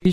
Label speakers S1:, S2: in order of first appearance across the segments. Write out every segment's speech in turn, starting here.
S1: Y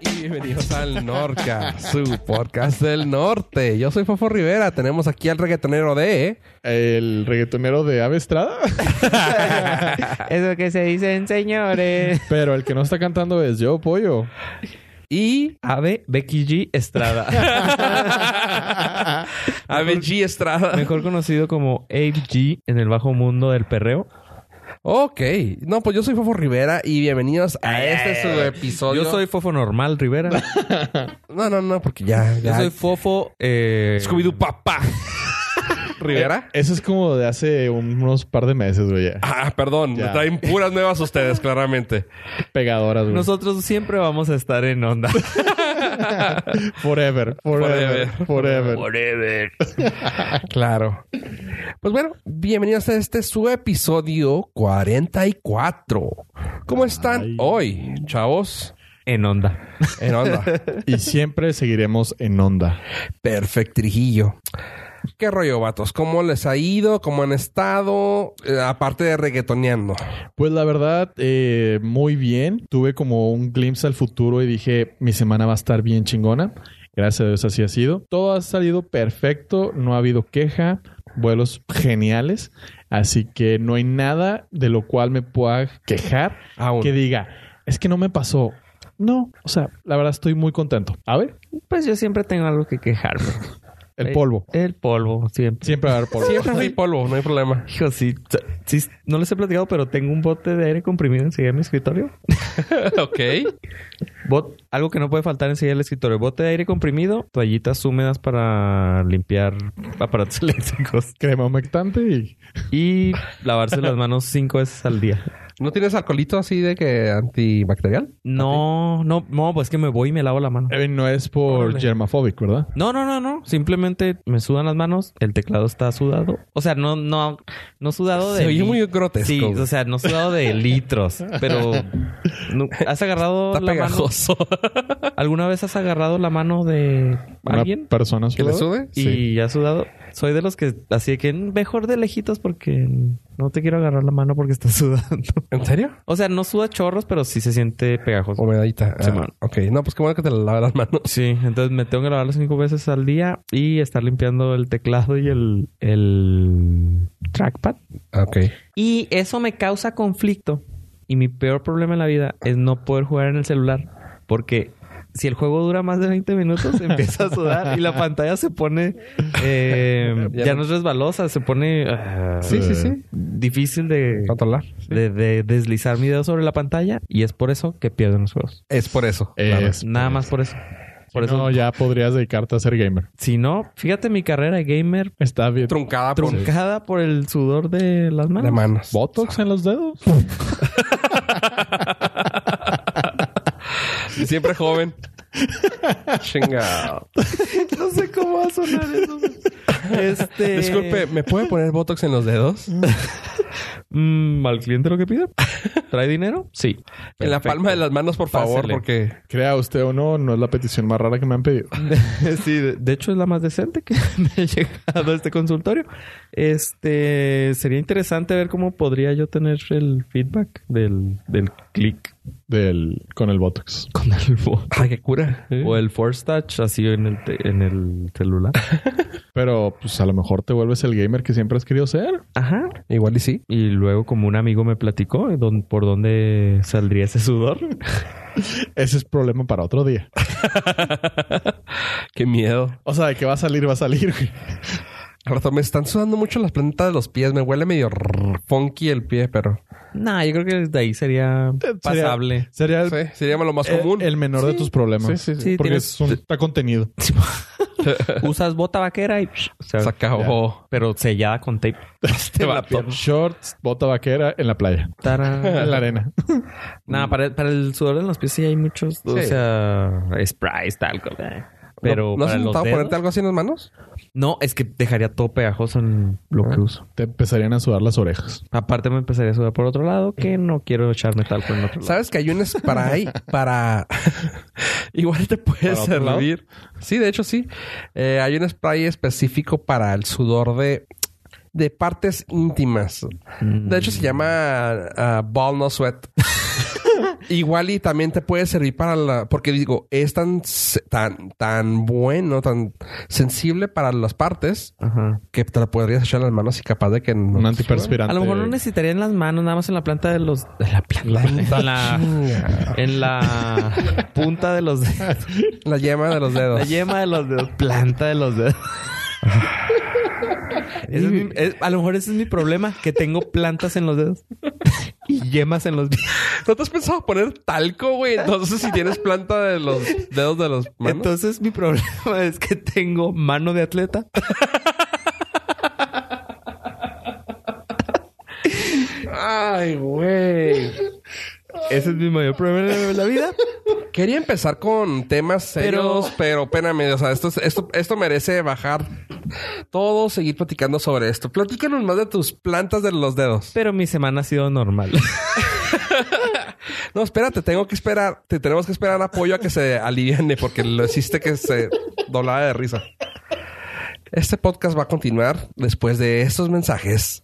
S2: Y bienvenidos al Norca, su podcast del norte. Yo soy Fofo Rivera. Tenemos aquí al reggaetonero de...
S3: El reggaetonero de Ave Estrada.
S4: Eso que se dicen, señores.
S3: Pero el que no está cantando es yo, pollo.
S2: Y Ave Becky G. Estrada. Ave G. Estrada.
S4: Mejor conocido como AG en el bajo mundo del perreo.
S2: Ok. No, pues yo soy Fofo Rivera y bienvenidos a este su episodio.
S4: Yo soy Fofo Normal Rivera.
S2: No, no, no, porque ya...
S1: Yo
S2: ya.
S1: soy Fofo. Eh...
S2: Scooby-Doo Papá. Rivera.
S3: Eso es como de hace unos par de meses, güey. ya.
S2: Ah, perdón.
S3: Ya.
S2: Me traen puras nuevas ustedes, claramente.
S3: Pegadoras, güey.
S4: Nosotros siempre vamos a estar en onda.
S3: Forever, forever,
S2: Forever.
S3: forever.
S2: Whatever. claro. Pues bueno, bienvenidos a este su episodio 44. ¿Cómo están
S3: Ay.
S2: hoy, chavos?
S4: En onda.
S2: En onda.
S3: Y siempre seguiremos en onda.
S2: Perfectrijillo. ¿Qué rollo, vatos? ¿Cómo les ha ido? ¿Cómo han estado? Eh, aparte de reggaetoneando.
S3: Pues la verdad, eh, muy bien. Tuve como un glimpse al futuro y dije, mi semana va a estar bien chingona. Gracias a Dios así ha sido. Todo ha salido perfecto, no ha habido queja, vuelos geniales. Así que no hay nada de lo cual me pueda quejar
S2: Aún.
S3: que diga, es que no me pasó. No, o sea, la verdad estoy muy contento. A ver,
S4: Pues yo siempre tengo algo que quejarme.
S3: el
S4: Eh,
S3: polvo.
S4: El polvo, siempre.
S3: Siempre va a haber polvo.
S2: Siempre fui polvo, no hay problema.
S4: Hijo, sí, sí, no les he platicado, pero tengo un bote de aire comprimido enseguida de mi escritorio.
S2: ok.
S4: Bot- algo que no puede faltar enseguida del escritorio. Bote de aire comprimido, toallitas húmedas para limpiar aparatos eléctricos.
S3: Crema humectante y
S4: Y lavarse las manos cinco veces al día.
S2: ¿No tienes alcoholito así de que antibacterial?
S4: No, no, no, pues que me voy y me lavo la mano.
S3: Eh, no es por
S4: Órale.
S3: germafóbico, ¿verdad?
S4: No, no, no, no. Simplemente me sudan las manos, el teclado está sudado. O sea, no, no, no sudado de.
S2: Se oye
S4: li-
S2: muy grotesco.
S4: Sí, o sea, no sudado de litros. Pero no- has agarrado
S2: Está
S4: la
S2: pegajoso.
S4: mano. ¿Alguna vez has agarrado la mano de
S3: Una
S4: alguien?
S3: persona
S2: ¿Que le
S3: sudada.
S2: sube?
S4: Y ha sudado. Soy de los que así de que mejor de lejitos porque no te quiero agarrar la mano porque estás sudando.
S2: ¿En serio?
S4: O sea, no suda chorros, pero sí se siente pegajoso.
S2: Humedadita. Ah,
S4: Simón.
S2: ok. No, pues qué bueno que te laves las manos.
S4: Sí, entonces me tengo que lavar las cinco veces al día y estar limpiando el teclado y el, el trackpad.
S2: Ok.
S4: Y eso me causa conflicto. Y mi peor problema en la vida es no poder jugar en el celular. Porque si el juego dura más de 20 minutos, empieza a sudar y la pantalla se pone... eh,
S2: Ya
S4: ya
S2: no-
S4: no es resbalosa, se pone... ah,
S2: Sí, sí, sí. Ah,
S4: Difícil de,
S2: Controlar.
S4: de- de deslizar mi dedo sobre la pantalla. Y es por eso que pierden los juegos.
S2: Es por eso.
S3: Es-
S4: Nada más por eso. Por
S3: Si
S4: eso
S3: No, ya podrías dedicarte a ser gamer.
S4: Si no, fíjate mi carrera de gamer
S3: Está bien.
S2: Truncada por
S4: truncada por el sudor de las manos.
S2: de manos.
S3: Botox en los dedos.
S2: Y Siempre joven. Chingado.
S4: No sé cómo va a sonar eso. Este...
S2: Disculpe, ¿me puede poner Botox en los dedos?
S4: Mm, ¿Al cliente lo que pida? ¿Trae dinero? Sí.
S2: En la
S4: Perfecto.
S2: palma de las manos, por favor,
S4: Pásele.
S2: porque...
S3: Crea usted o no, no es la petición más rara que me han pedido.
S4: sí, de, de hecho es la más decente que me ha llegado a este consultorio. Este... Sería interesante ver cómo podría yo tener el feedback del, del click
S3: Del, con el Botox.
S4: con el bot.
S2: Ay, qué cura.
S4: Ah, O el force touch así en el, te- en el celular.
S3: Pero pues a lo mejor te vuelves el gamer que siempre has querido ser.
S4: Ajá.
S2: Igual y sí.
S4: Y luego, como un amigo me platicó don- por dónde saldría ese sudor.
S3: Ese es problema para otro día.
S2: Qué miedo.
S3: O sea, de que va a salir, va a salir. güey.
S2: Al rato, me están sudando mucho las plantas de los pies. Me huele medio rrr, funky el pie, pero...
S4: no, yo creo que desde ahí sería
S3: Sería-
S4: pasable.
S3: Sería el,
S2: Sí, sería lo más
S4: Eh,
S3: el-
S2: común.
S3: el menor de tus problemas.
S2: Sí, sí, sí.
S4: Sí,
S3: Porque
S4: tienes-
S3: es un- está contenido.
S4: Usas bota vaquera y psh, se-
S2: Se acabó.
S4: pero sellada con tape.
S2: Este vato.
S3: Shorts, bota vaquera en la playa, en la arena.
S4: Nada, para, para el sudor en los pies sí hay muchos. O
S2: Sí.
S4: sea, sprays, tal. cosa. Pero
S2: ¿No, ¿no has
S4: para los
S2: intentado
S4: dedos-
S2: ponerte algo así en las manos?
S4: No, es que dejaría todo pegajoso en lo
S2: Ah.
S4: que uso.
S5: Te empezarían a sudar las orejas.
S4: Aparte me empezaría a sudar por otro lado que no quiero echarme talco en otro lado.
S2: Eh. ¿Sabes que hay un spray para... Igual te puede
S5: ¿Para otro lado?
S2: servir. Sí, de hecho sí. Eh, hay un spray específico para el sudor de... De partes íntimas. De hecho, se llama ah, Ball No Sweat. Igual y también te puede servir para la... Porque digo, es tan, se- tan, tan bueno, tan sensible para las partes
S4: Ajá.
S2: que te la podrías echar en las manos y capaz de que no...
S5: Un antiperspirante.
S4: A lo mejor no necesitaría en las manos, nada más en la planta de los... De la planta. En la, en la punta de los dedos.
S2: La yema de los dedos.
S4: La yema de los dedos. Planta de los dedos. Ese es mi- es- a lo mejor ese es mi problema, que tengo plantas en los dedos y yemas en los pies.
S2: ¿No te has pensado poner talco, güey? Entonces, si tienes planta de los dedos de los manos.
S4: Entonces mi problema es que tengo mano de atleta.
S2: Ay, güey.
S4: Ese es mi mayor problema en la vida.
S2: Quería empezar con temas serios, pero, espérame, o sea, esto, es- esto, esto merece bajar todo, seguir platicando sobre esto. Platícanos más de tus plantas de los dedos.
S4: Pero mi semana ha sido normal.
S2: No, espérate, tengo que esperar. Te tenemos que esperar apoyo a que se aliviane porque lo hiciste que se doblaba de risa. Este podcast va a continuar después de estos mensajes.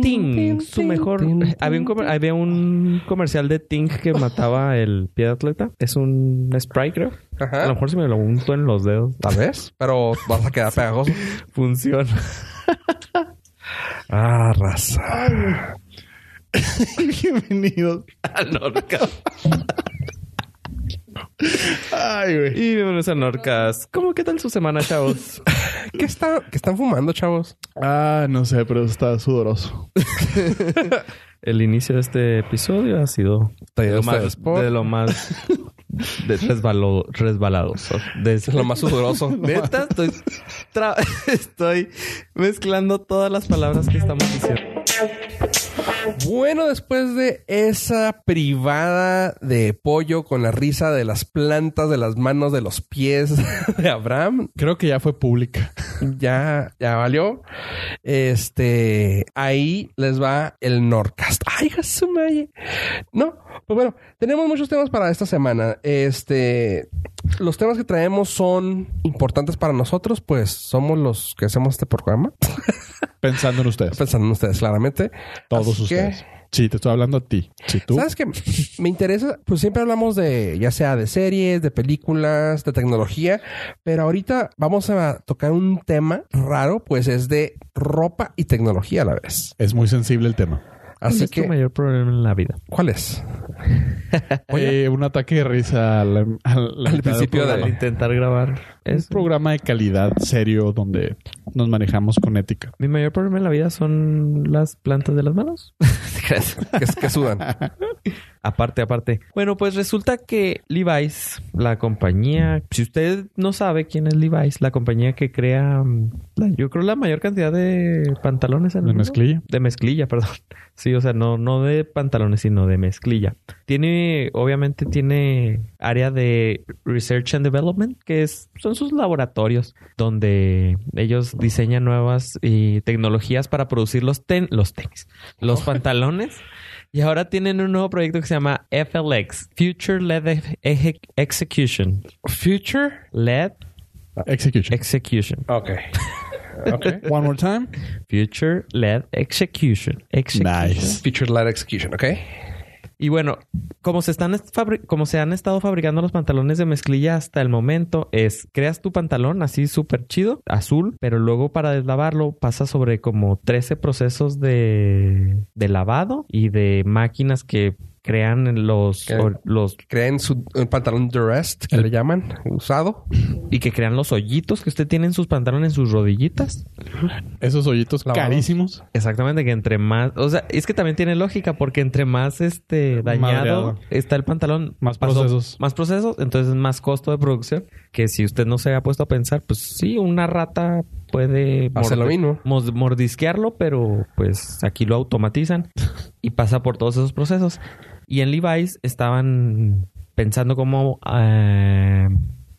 S4: Ting, su mejor. Había un, comer- había un comercial de Ting que mataba el pie de atleta. Es un spray, creo.
S2: Ajá.
S4: A lo mejor si me lo unto en los dedos,
S2: Tal vez, pero vas a quedar pegajoso.
S4: funciona.
S2: Ah, raza.
S5: Bienvenidos. Ay, güey.
S4: Y bienvenidos a Norcas. ¿Cómo qué tal su semana, chavos?
S2: ¿Qué, está, ¿Qué están fumando, chavos?
S5: Ah, no sé, pero está sudoroso.
S4: El inicio de este episodio ha sido
S2: Talleres
S4: de lo
S2: de
S4: más,
S2: sport.
S4: de lo más de resbalo, resbalado. De-
S2: Es lo más sudoroso.
S4: Neta, estoy, tra- estoy mezclando todas las palabras que estamos diciendo.
S2: bueno, después de esa privada de pollo con la risa de las plantas, de las manos, de los pies de Abraham,
S5: Creo que ya fue pública.
S2: ya, ya valió. Este, ahí les va el Norcast. Ay, Jasumaye. No, pues bueno, tenemos muchos temas para esta semana. Este, los temas que traemos son importantes para nosotros, pues somos los que hacemos este programa.
S5: Pensando en ustedes.
S2: Pensando en ustedes, claramente.
S5: Todos
S2: Así que,
S5: ustedes. Sí, te estoy hablando a ti. Si tú.
S2: ¿Sabes qué? Me interesa, pues siempre hablamos de, ya sea de series, de películas, de tecnología, pero ahorita vamos a tocar un tema raro, pues es de ropa y tecnología a la vez.
S5: Es muy sensible el tema.
S2: Así
S4: es tu
S2: que,
S4: mayor problema en la vida?
S2: ¿cuál es?
S5: Eh, un ataque de risa al, al- al-
S2: Al principio
S5: programa.
S4: Al intentar grabar.
S5: Es
S4: Es
S5: un programa de calidad serio donde nos manejamos con ética.
S4: Mi mayor problema en la vida son las plantas de las manos.
S2: Que, que sudan.
S4: aparte, aparte. Bueno, pues resulta que Levi's, la compañía, si usted no sabe quién es Levi's, la compañía que crea, mm, la- yo creo la mayor cantidad de pantalones en el
S5: De
S4: mundo.
S5: mezclilla.
S4: De mezclilla, perdón. Sí, o sea, no, no de pantalones, sino de mezclilla. Tiene, obviamente tiene área de Research and Development, que es, son sus laboratorios, donde ellos diseñan nuevas y tecnologías para producir los, ten, los tenis, los pantalones. Y ahora tienen un nuevo proyecto que se llama FLX, Future LED Eje- Eje- Execution.
S2: Future.
S4: LED
S5: Execution.
S4: Execution.
S2: Ok. Ok.
S5: One more time.
S4: Future LED Execution. Execution.
S5: Nice.
S2: Future Light Execution, ¿ok?
S4: Y bueno, como se, están est- fabri- como se han estado fabricando los pantalones de mezclilla hasta el momento, es creas tu pantalón así súper chido, azul, pero luego para deslavarlo pasa sobre como 13 procesos de, de lavado y de máquinas que crean los,
S2: Que-
S4: o- los
S2: Creen su un pantalón durest, que le llaman, usado.
S4: y que crean los hoyitos que usted tiene en sus pantalones, en sus rodillitas.
S5: Esos hoyitos
S2: Lavados.
S5: carísimos.
S4: Exactamente, que entre más, o sea, es que también tiene lógica porque entre más este dañado
S5: Madreado.
S4: está el pantalón,
S5: Más
S4: pasó-
S5: procesos.
S4: más procesos, entonces más costo de producción, que si usted no se ha puesto a pensar, pues sí, una rata puede
S2: Hace lo
S4: morde-
S2: mismo.
S4: mos- mordisquearlo, pero pues aquí lo automatizan y pasa por todos esos procesos. Y en Levi's estaban pensando cómo eh,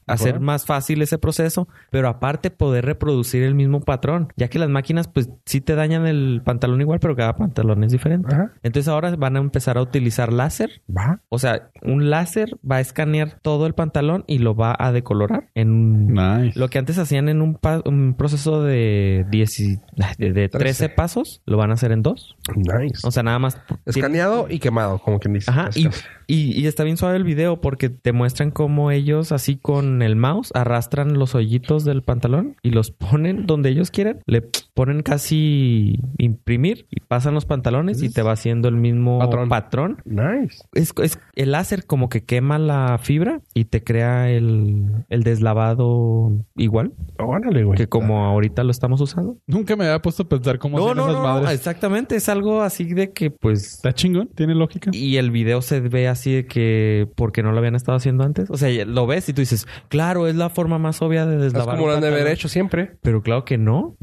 S4: hacer más fácil ese proceso, pero aparte poder reproducir el mismo patrón, ya que las máquinas pues sí te dañan el pantalón igual, pero cada pantalón es diferente.
S2: Ajá.
S4: Entonces ahora van a empezar a utilizar láser.
S2: Va.
S4: O sea, un láser va a escanear todo el pantalón y lo va a decolorar en un-
S3: Nice.
S4: Lo que antes hacían en un, pa- un proceso de, 10 y- de, de 13.
S2: Trece.
S4: pasos, lo van a hacer en dos.
S2: Nice.
S4: O sea, nada más...
S2: Escaneado y quemado, como quien dice.
S4: Ajá, y,
S2: Escaneado.
S4: y- y está bien suave el video porque te muestran cómo ellos así con el mouse arrastran los hoyitos del pantalón y los ponen donde ellos quieren. Le ponen casi imprimir y pasan los pantalones y te va haciendo el mismo
S2: Patrón.
S4: patrón.
S2: Nice.
S4: Es, es el láser como que quema la fibra y te crea el, el deslavado igual
S2: Órale, güey.
S4: que como ahorita lo estamos usando.
S3: Nunca me había puesto a pensar cómo
S4: No,
S3: hacían
S4: no,
S3: esas
S4: no, no,
S3: madres.
S4: exactamente. Es algo así de que pues
S3: Está chingón, tiene lógica.
S4: Y el video se ve así de que porque no lo habían estado haciendo antes. O sea, ya lo ves y tú dices, claro, es la forma más obvia de
S2: Es
S4: deslavar.
S2: como
S4: un
S2: lo han de haber
S4: pantalón".
S2: hecho siempre.
S4: Pero claro que no.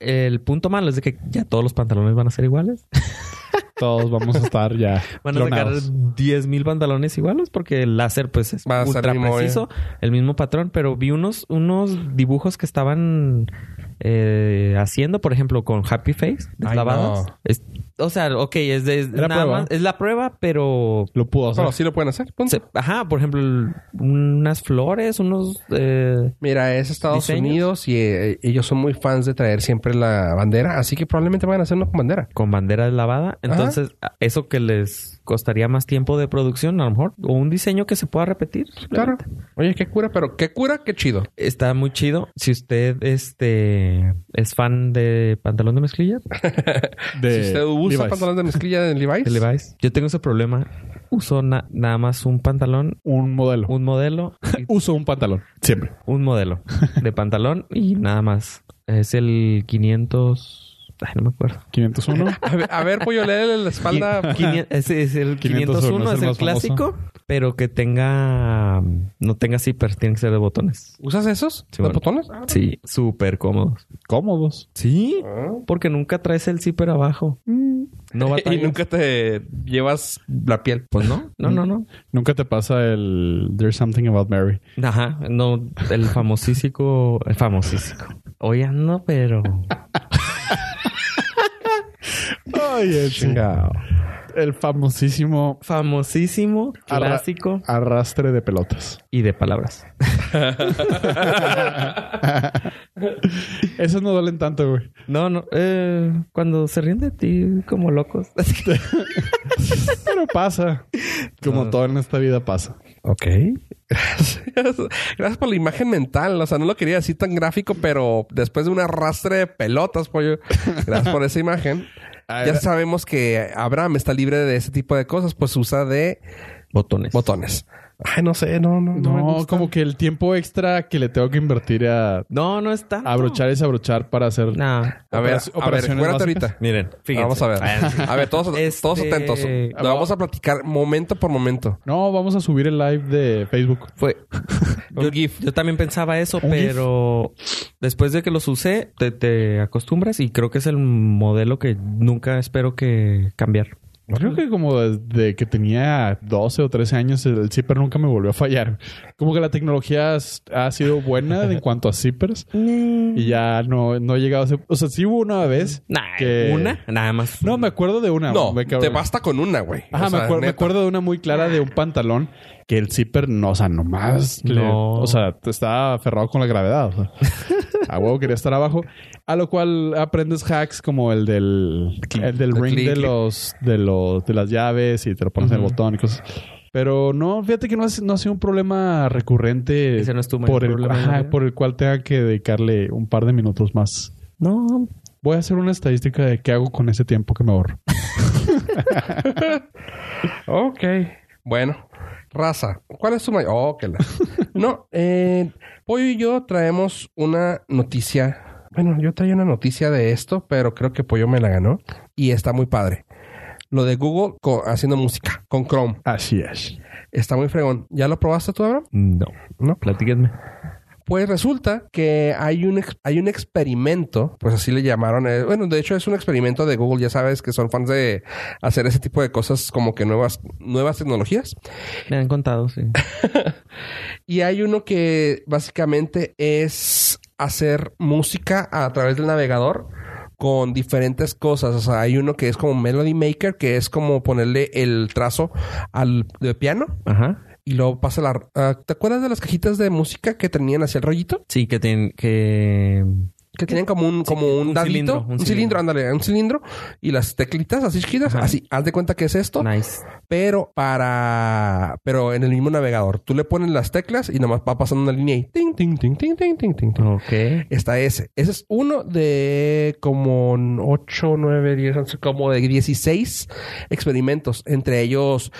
S4: El punto malo es de que ya todos los pantalones van a ser iguales.
S3: Todos vamos a estar ya.
S4: Van a
S3: clonados.
S4: sacar 10 mil pantalones iguales porque el láser pues es
S2: Va a ser
S4: ultra
S2: el mismo, eh.
S4: preciso, el mismo patrón. Pero vi unos, unos dibujos que estaban eh, haciendo, por ejemplo, con Happy Face deslavadas.
S2: no.
S4: Es- o sea, ok, es, de, es
S3: Era
S4: nada
S3: prueba.
S4: más- es la prueba, pero
S3: Lo pudo hacer.
S2: Bueno, sí lo pueden hacer. punto.
S4: Se- ajá, por ejemplo, el- unas flores, unos... eh,
S2: Mira, es Estados
S4: Diseños.
S2: Unidos y eh, ellos son muy fans de traer siempre la bandera, así que probablemente van a hacer uno con bandera.
S4: con bandera deslavada. Entonces, eso que les costaría más tiempo de producción, a lo mejor. O un diseño que se pueda repetir.
S2: Claro. Oye, qué cura, pero qué cura, qué chido.
S4: Está muy chido. Si usted este, es fan de pantalón de mezclilla,
S3: De
S2: si usted usa
S3: Eh, Levi's.
S2: pantalones de mezclilla de Levi's,
S4: de Levi's. Yo tengo ese problema. Uso na- nada más un pantalón,
S3: Un modelo.
S4: un modelo, y
S3: Uso un pantalón. Siempre.
S4: un modelo de pantalón y nada más. Es el 500... Ay, no me acuerdo.
S3: 501.
S2: A ver, a ver, pollo, léele la espalda.
S4: Quini- ese es el 501,
S3: 501,
S4: es
S3: es el
S4: el,
S3: más
S4: clásico, pero que tenga no tenga zippers, tiene que ser de botones.
S2: ¿Usas esos?
S4: Sí,
S2: ¿Los
S4: bueno.
S2: botones?
S4: Sí, súper cómodos.
S3: Cómodos.
S4: Sí,
S2: Ah.
S4: porque nunca traes el zipper abajo. No batallas.
S2: y nunca te llevas la piel.
S4: pues no, no, no, no.
S3: Nunca te pasa el There's Something About Mary.
S4: Ajá, no el famosísico, el famosísico. Hoy ando, pero
S3: Ay, el chingado. El famosísimo
S4: famosísimo,
S3: arra-
S4: clásico
S3: arrastre de pelotas.
S4: y de palabras.
S3: Esos no duelen tanto, güey.
S4: No, no, eh, cuando se ríen de ti como locos.
S3: Pero pasa. Como
S4: No.
S3: todo en esta vida pasa.
S2: Ok. Gracias por la imagen mental. O sea, no lo quería así tan gráfico, pero después de un arrastre de pelotas, pollo. Gracias por esa imagen. Ya sabemos que Abraham está libre de ese tipo de cosas, pues usa de
S4: Botones.
S2: botones. Ay, no sé, no, no, no. me
S3: No,
S2: gusta.
S3: como que el tiempo extra que le tengo que invertir a
S4: No, no está.
S3: abrochar y desabrochar para hacer
S4: Nah.
S2: A ver,
S3: Operaci-
S2: a ver,
S3: operaciones
S2: acuérdate
S3: básicas.
S2: ahorita.
S4: Miren, fíjense. Ah,
S2: Vamos a ver. A ver, todos, todos
S4: Este-
S2: atentos. Lo vamos a platicar momento por momento.
S3: No, vamos a subir el live de Facebook.
S4: Fue. Yo, yo también pensaba eso, pero después de que los usé, te, te acostumbras y creo que es el modelo que nunca espero que cambiar.
S3: Creo que como desde que tenía 12 o 13 años el zipper nunca me volvió a fallar. Como que la tecnología has- ha sido buena en cuanto a zippers
S4: Mm.
S3: y ya no, no he llegado a... ser- O sea, sí hubo una vez
S4: Nah,
S3: que...
S4: una, nada más.
S3: No, me acuerdo de una.
S2: No,
S3: Ah, me cabrón.
S2: te basta con una, güey.
S3: Ajá,
S2: O sea,
S3: me, acuer- me
S2: neta.
S3: acuerdo de una muy clara de un pantalón que el zipper no, o sea, nomás. le-
S4: No.
S3: o sea, te estaba aferrado con la gravedad. o sea. a huevo quería estar abajo. A lo cual aprendes hacks como el del, el del
S2: El
S3: ring
S2: click.
S3: de los, de los de las llaves y te lo pones en el
S4: Ujú.
S3: botón y cosas. Pero no, fíjate que no, es- no ha sido un problema recurrente
S4: Ese no es tu mayor
S3: por, el,
S4: problema en la
S3: ajá,
S4: vida.
S3: por el cual tenga que dedicarle un par de minutos más.
S4: No,
S3: Voy a hacer una estadística de qué hago con ese tiempo que me ahorro.
S2: Ok. Bueno, raza, ¿cuál es tu mayor? Oh, que la. no, eh, Pollo y yo traemos una noticia. Bueno, yo traía una noticia de esto, pero creo que Pollo me la ganó y está muy padre. Lo de Google co- haciendo música con Chrome
S3: Así es.
S2: está muy fregón. ¿Ya lo probaste tú, Abraham?
S4: no,
S2: No.
S4: platíquenme.
S2: Pues resulta que hay un, ex- hay un experimento, pues así le llamaron. eh, bueno, de hecho es un experimento de Google, ya sabes que son fans de hacer ese tipo de cosas como que nuevas, nuevas tecnologías.
S4: Me han contado, sí.
S2: Y hay uno que básicamente es hacer música a través del navegador con diferentes cosas. O sea, hay uno que es como Melody Maker, que es como ponerle el trazo al de piano
S4: Ajá.
S2: y luego pasa la... ah, ¿Te acuerdas de las cajitas de música que tenían hacia el rollito?
S4: Sí, que tienen que...
S2: Que tenían como un, como un,
S4: un
S2: dadito.
S4: cilindro,
S2: un,
S4: un
S2: cilindro.
S4: cilindro.
S2: ándale, un cilindro. Y las teclitas así chiquitas.
S4: Ajá.
S2: Así, haz de cuenta que es esto.
S4: Nice.
S2: Pero para. Pero en el mismo navegador. Tú le pones las teclas y nomás va pasando una línea y. Ting, ting, ting, ting, ting, ting, ting, ting.
S4: Ok.
S2: Está ese. Ese es uno de como 8, 9, 10, como de 16 experimentos. Entre ellos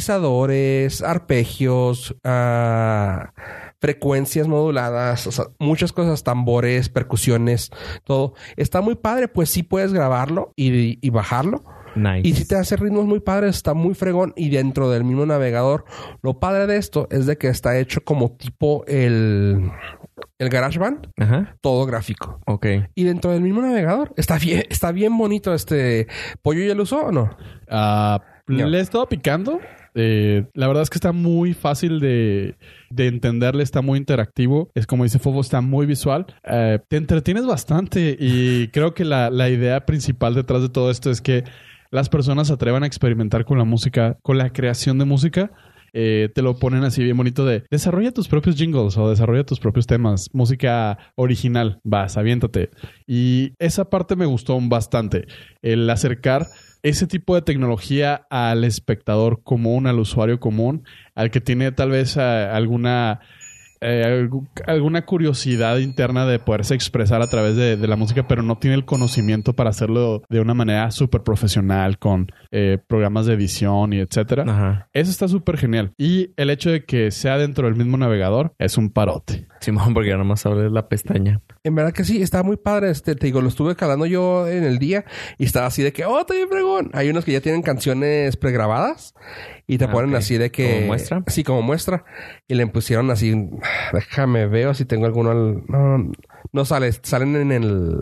S2: sintetizadores, arpegios, ah, frecuencias moduladas, o sea, muchas cosas, tambores, percusiones, todo. Está muy padre, pues sí puedes grabarlo y, y bajarlo.
S4: Nice.
S2: Y si te hace ritmos muy padres, está muy fregón y dentro del mismo navegador. Lo padre de esto es de que está hecho como tipo el, el GarageBand,
S4: Ajá.
S2: todo gráfico.
S4: Ok.
S2: Y dentro del mismo navegador está bien, está bien bonito este. ¿Pollo ya lo usó o no?
S3: Ah,
S2: Ya.
S3: Le he estado picando. Eh, la verdad es que está muy fácil de, de entenderle, está muy interactivo. Es como dice Fofo, está muy visual. Eh, te entretienes bastante y creo que la, la idea principal detrás de todo esto es que las personas se atrevan a experimentar con la música, con la creación de música. Eh, te lo ponen así bien bonito de desarrolla tus propios jingles o desarrolla tus propios temas, música original, vas, aviéntate. Y esa parte me gustó bastante, el acercar ese tipo de tecnología al espectador común, al usuario común, al que tiene tal vez a- alguna eh, algu- alguna curiosidad interna de poderse expresar a través de, de la música, pero no tiene el conocimiento para hacerlo de una manera súper profesional con eh, programas de edición y etcétera.
S4: Ajá.
S3: Eso está súper genial. Y el hecho de que sea dentro del mismo navegador es un parote.
S4: Simón, porque nada más abres la pestaña.
S2: En verdad que sí, está muy padre. Este, te digo, lo estuve calando yo en el día y estaba así de que, oh, está bien fregón. Hay unos que ya tienen canciones pregrabadas y te
S4: Ah,
S2: ponen
S4: ok.
S2: así de que.
S4: ¿Como muestra?
S2: Sí, como muestra. Y le pusieron así, déjame veo si tengo alguno. al- No, no sale, salen en el.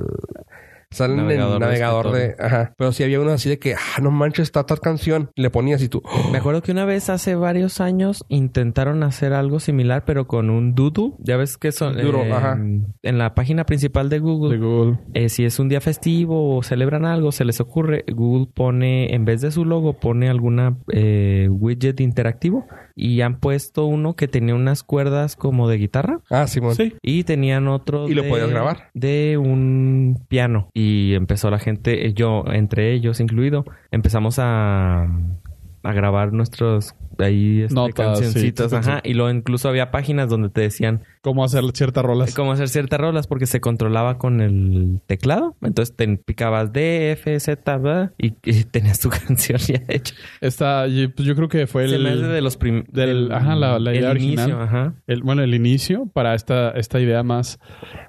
S2: Salen en el
S4: Navegador de
S2: navegador de.
S4: escritorio.
S2: Ajá. Pero sí había unos así de que, ah, no manches, está tal canción. Y le ponías y tú, "Oh,
S4: Me acuerdo que una vez hace varios años intentaron hacer algo similar, pero con un doodoo. Ya ves que son... eh,
S2: Duro, ajá.
S4: En la página principal de Google.
S3: De Google.
S4: Eh, si es un día festivo o celebran algo, se les ocurre, Google pone, en vez de su logo, pone alguna eh, widget interactivo y han puesto uno que tenía unas cuerdas como de guitarra
S2: ah, Simón.
S3: Sí.
S4: y tenían otro
S2: Y lo
S4: de-
S2: podías grabar.
S4: de un piano y empezó la gente, eh, yo entre ellos incluido, empezamos a, a grabar nuestros ahí este,
S3: Notas, sí,
S4: cancioncitas,
S3: sí, sí, sí.
S4: ajá, y luego incluso había páginas donde te decían
S3: Cómo hacer ciertas rolas.
S4: como hacer ciertas rolas porque se controlaba con el teclado. Entonces te picabas D, F, Z, bla, y, y tenías tu canción ya hecha.
S3: Está, y, pues, yo creo que fue el...
S4: se me hace de los prim-
S3: del- ajá, la- la
S4: el
S3: idea
S4: inicio,
S3: original.
S4: ajá.
S3: el- bueno, el inicio para esta, esta idea más,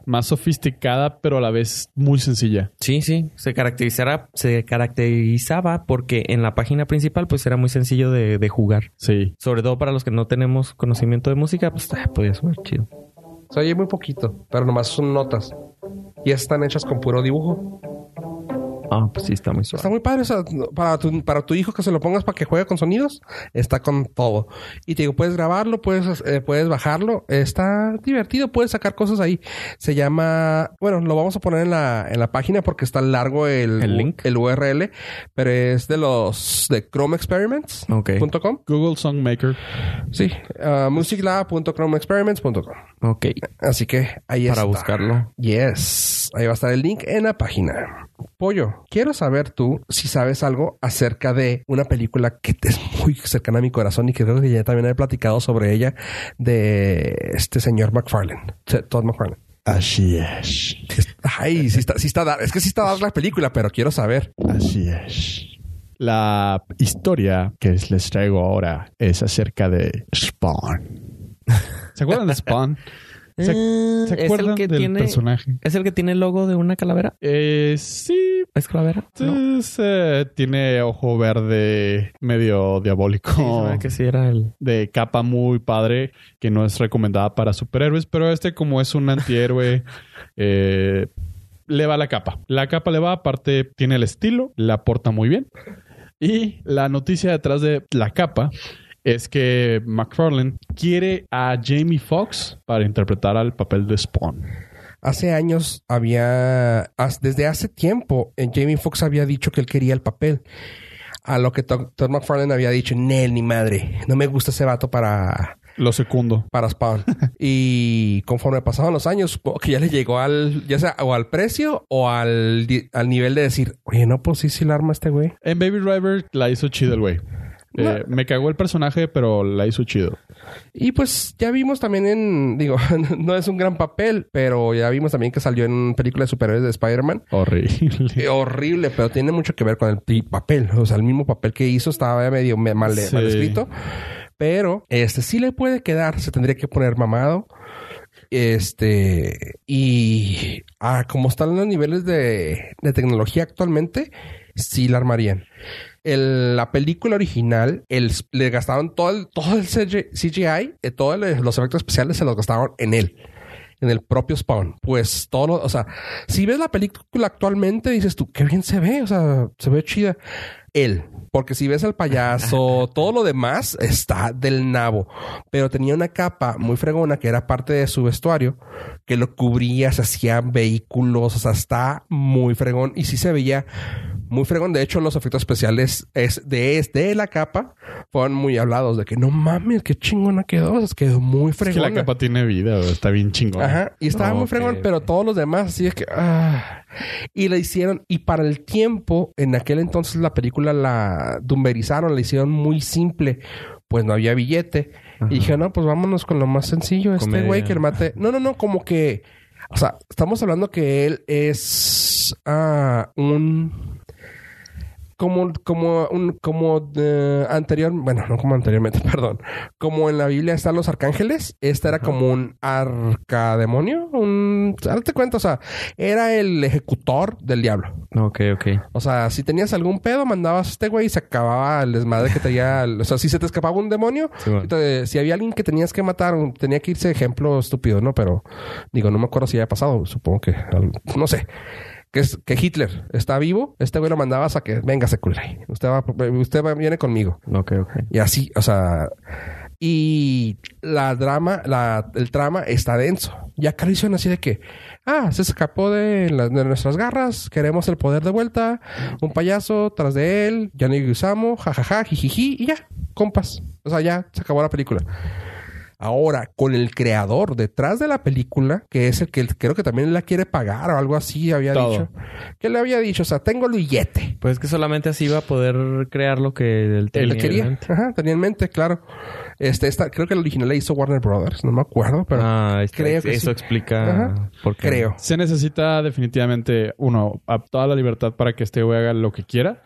S3: más sofisticada, pero a la vez muy sencilla.
S4: Sí, sí. Se caracterizara, se caracterizaba porque en la página principal pues era muy sencillo de, de jugar.
S3: Sí.
S4: Sobre todo para los que no tenemos conocimiento de música, pues ah, podía sonar chido.
S2: Se oye muy poquito, pero nomás son notas. Y están hechas con puro dibujo.
S4: Ah, pues sí, está muy suave.
S2: Está muy padre. o sea, para, tu, para tu hijo que se lo pongas para que juegue con sonidos, está con todo. Y te digo, puedes grabarlo, puedes, eh, puedes bajarlo. Está divertido, puedes sacar cosas ahí. Se llama... Bueno, lo vamos a poner en la, en la página porque está largo el,
S4: ¿El link?
S2: el URL. Pero es de los... de chromeexperiments.com.
S4: Ok.
S3: Google Songmaker.
S2: Sí. ah, musiclab.chromeexperiments.com.
S4: Ok.
S2: Así que ahí
S4: Para
S2: está.
S4: buscarlo.
S2: Yes. Ahí va a estar el link en la página. Pollo, quiero saber tú si sabes algo acerca de una película que te es muy cercana a mi corazón y que creo que ya también he platicado sobre ella de este señor McFarlane, T- Todd McFarlane.
S3: Así es.
S2: Ay, sí está, sí está, dar- es que sí está dar la película, pero quiero saber.
S3: Así es. La historia que les traigo ahora es acerca de Spawn. ¿Se acuerdan de Spawn? ¿Se,
S4: Ah,
S3: se
S4: es
S3: acuerdan
S4: el que
S3: del
S4: tiene.
S3: personaje?
S4: ¿Es el que tiene el logo de una calavera?
S3: Eh, sí,
S4: ¿Es calavera? No. Sí,
S3: es, eh, tiene ojo verde medio diabólico.
S4: se me hace que sí era el.
S3: de capa muy padre que no es recomendada para superhéroes, pero este como es un antihéroe eh, le va la capa. La capa le va, aparte tiene el estilo, la porta muy bien. Y la noticia detrás de la capa es que McFarlane quiere a Jamie Foxx para interpretar al papel de Spawn.
S2: Hace años había, as- desde hace tiempo, eh, Jamie Foxx había dicho que él quería el papel. A lo que Tom, Tom McFarlane había dicho, Nel, ni madre, no me gusta ese vato para,
S3: Lo secundo.
S2: para Spawn. y conforme pasaban los años, supongo que ya le llegó al, ya sea o al precio o al, di- al nivel de decir, oye, no, pues sí, sí la arma este güey.
S3: En Baby Driver la hizo chido el güey. Eh, Me cagó el personaje, pero la hizo chido.
S2: Y pues ya vimos también en, digo, no es un gran papel, pero ya vimos también que salió en películas de superhéroes de Spider-Man.
S3: Horrible.
S2: Eh, horrible, pero tiene mucho que ver con el pi- papel. O sea, el mismo papel que hizo estaba medio me- mal,
S3: Sí.
S2: mal escrito. Pero este sí le puede quedar, se tendría que poner mamado. Este, y ah, como están los niveles de, de tecnología actualmente, sí la armarían. En la película original, el, le gastaron todo el, todo el CG CGI, eh, todos los efectos especiales se los gastaron en él en el propio Spawn. Pues todo, lo- o sea, si ves la película actualmente, dices tú, qué bien se ve, o sea, se ve chida. Él, porque si ves al payaso, todo lo demás está del nabo, pero tenía una capa muy fregona que era parte de su vestuario, que lo cubría, se hacían vehículos, o sea, está muy fregón y sí se veía muy fregón. De hecho, los efectos especiales es de, es de la capa fueron muy hablados de que no mames, qué chingona quedó, o sea, quedó muy
S3: Es que
S2: fregona.
S3: la capa tiene vida, güey. está bien chingón.
S2: Ajá. Y estaba muy
S4: Ok,
S2: fregón,
S4: ok.
S2: pero todos los demás, así es que. ah. Y la hicieron. Y para el tiempo, en aquel entonces la película la dumberizaron, la hicieron muy simple. Pues no había billete. Y dije, no, pues vámonos con lo más sencillo. Este
S4: Comedia.
S2: güey que el mate. No, no, no, como que. O sea, estamos hablando que él es ah, un como como un como de- anterior bueno no como anteriormente perdón como en la Biblia están los arcángeles esta era como un arcademonio un date cuenta o sea era el ejecutor del diablo
S4: Ok, ok.
S2: o sea si tenías algún pedo mandabas a este güey y se acababa el desmadre que tenía o sea si se te escapaba un demonio
S4: Sí, bueno.
S2: entonces, si había alguien que tenías que matar, un- tenía que irse ejemplo estúpido, ¿no? Pero digo, no me acuerdo si había pasado, supongo que al- no sé. Que, es, que Hitler está vivo, este güey lo mandabas a que venga, se culera. Usted va, usted va- viene conmigo.
S4: Ok, ok.
S2: Y así, o sea. Y la drama, la, el trama está denso. Ya acá lo hicieron así de que, ah, se escapó de, la- de nuestras garras, queremos el poder de vuelta, un payaso tras de él, ya ni usamos, jajaja, jijiji, y ya, compas. O sea, ya se acabó la película. Ahora, con el creador detrás de la película, que es el que creo que también la quiere pagar o algo así, había
S3: Todo.
S2: dicho. Que le había dicho, o sea, tengo el billete.
S4: Pues es que solamente así iba a poder crear lo que él
S2: Él
S4: tenía.
S2: quería.
S4: en mente.
S2: Ajá, tenía en mente, claro. Este, esta, creo que el original la hizo Warner Brothers, no me acuerdo, pero
S4: ah, ahí está.
S2: creo que
S4: eso
S2: sí. Ajá.
S4: explica por qué.
S2: creo.
S3: Se necesita definitivamente, uno, a toda la libertad para que este güey haga lo que quiera.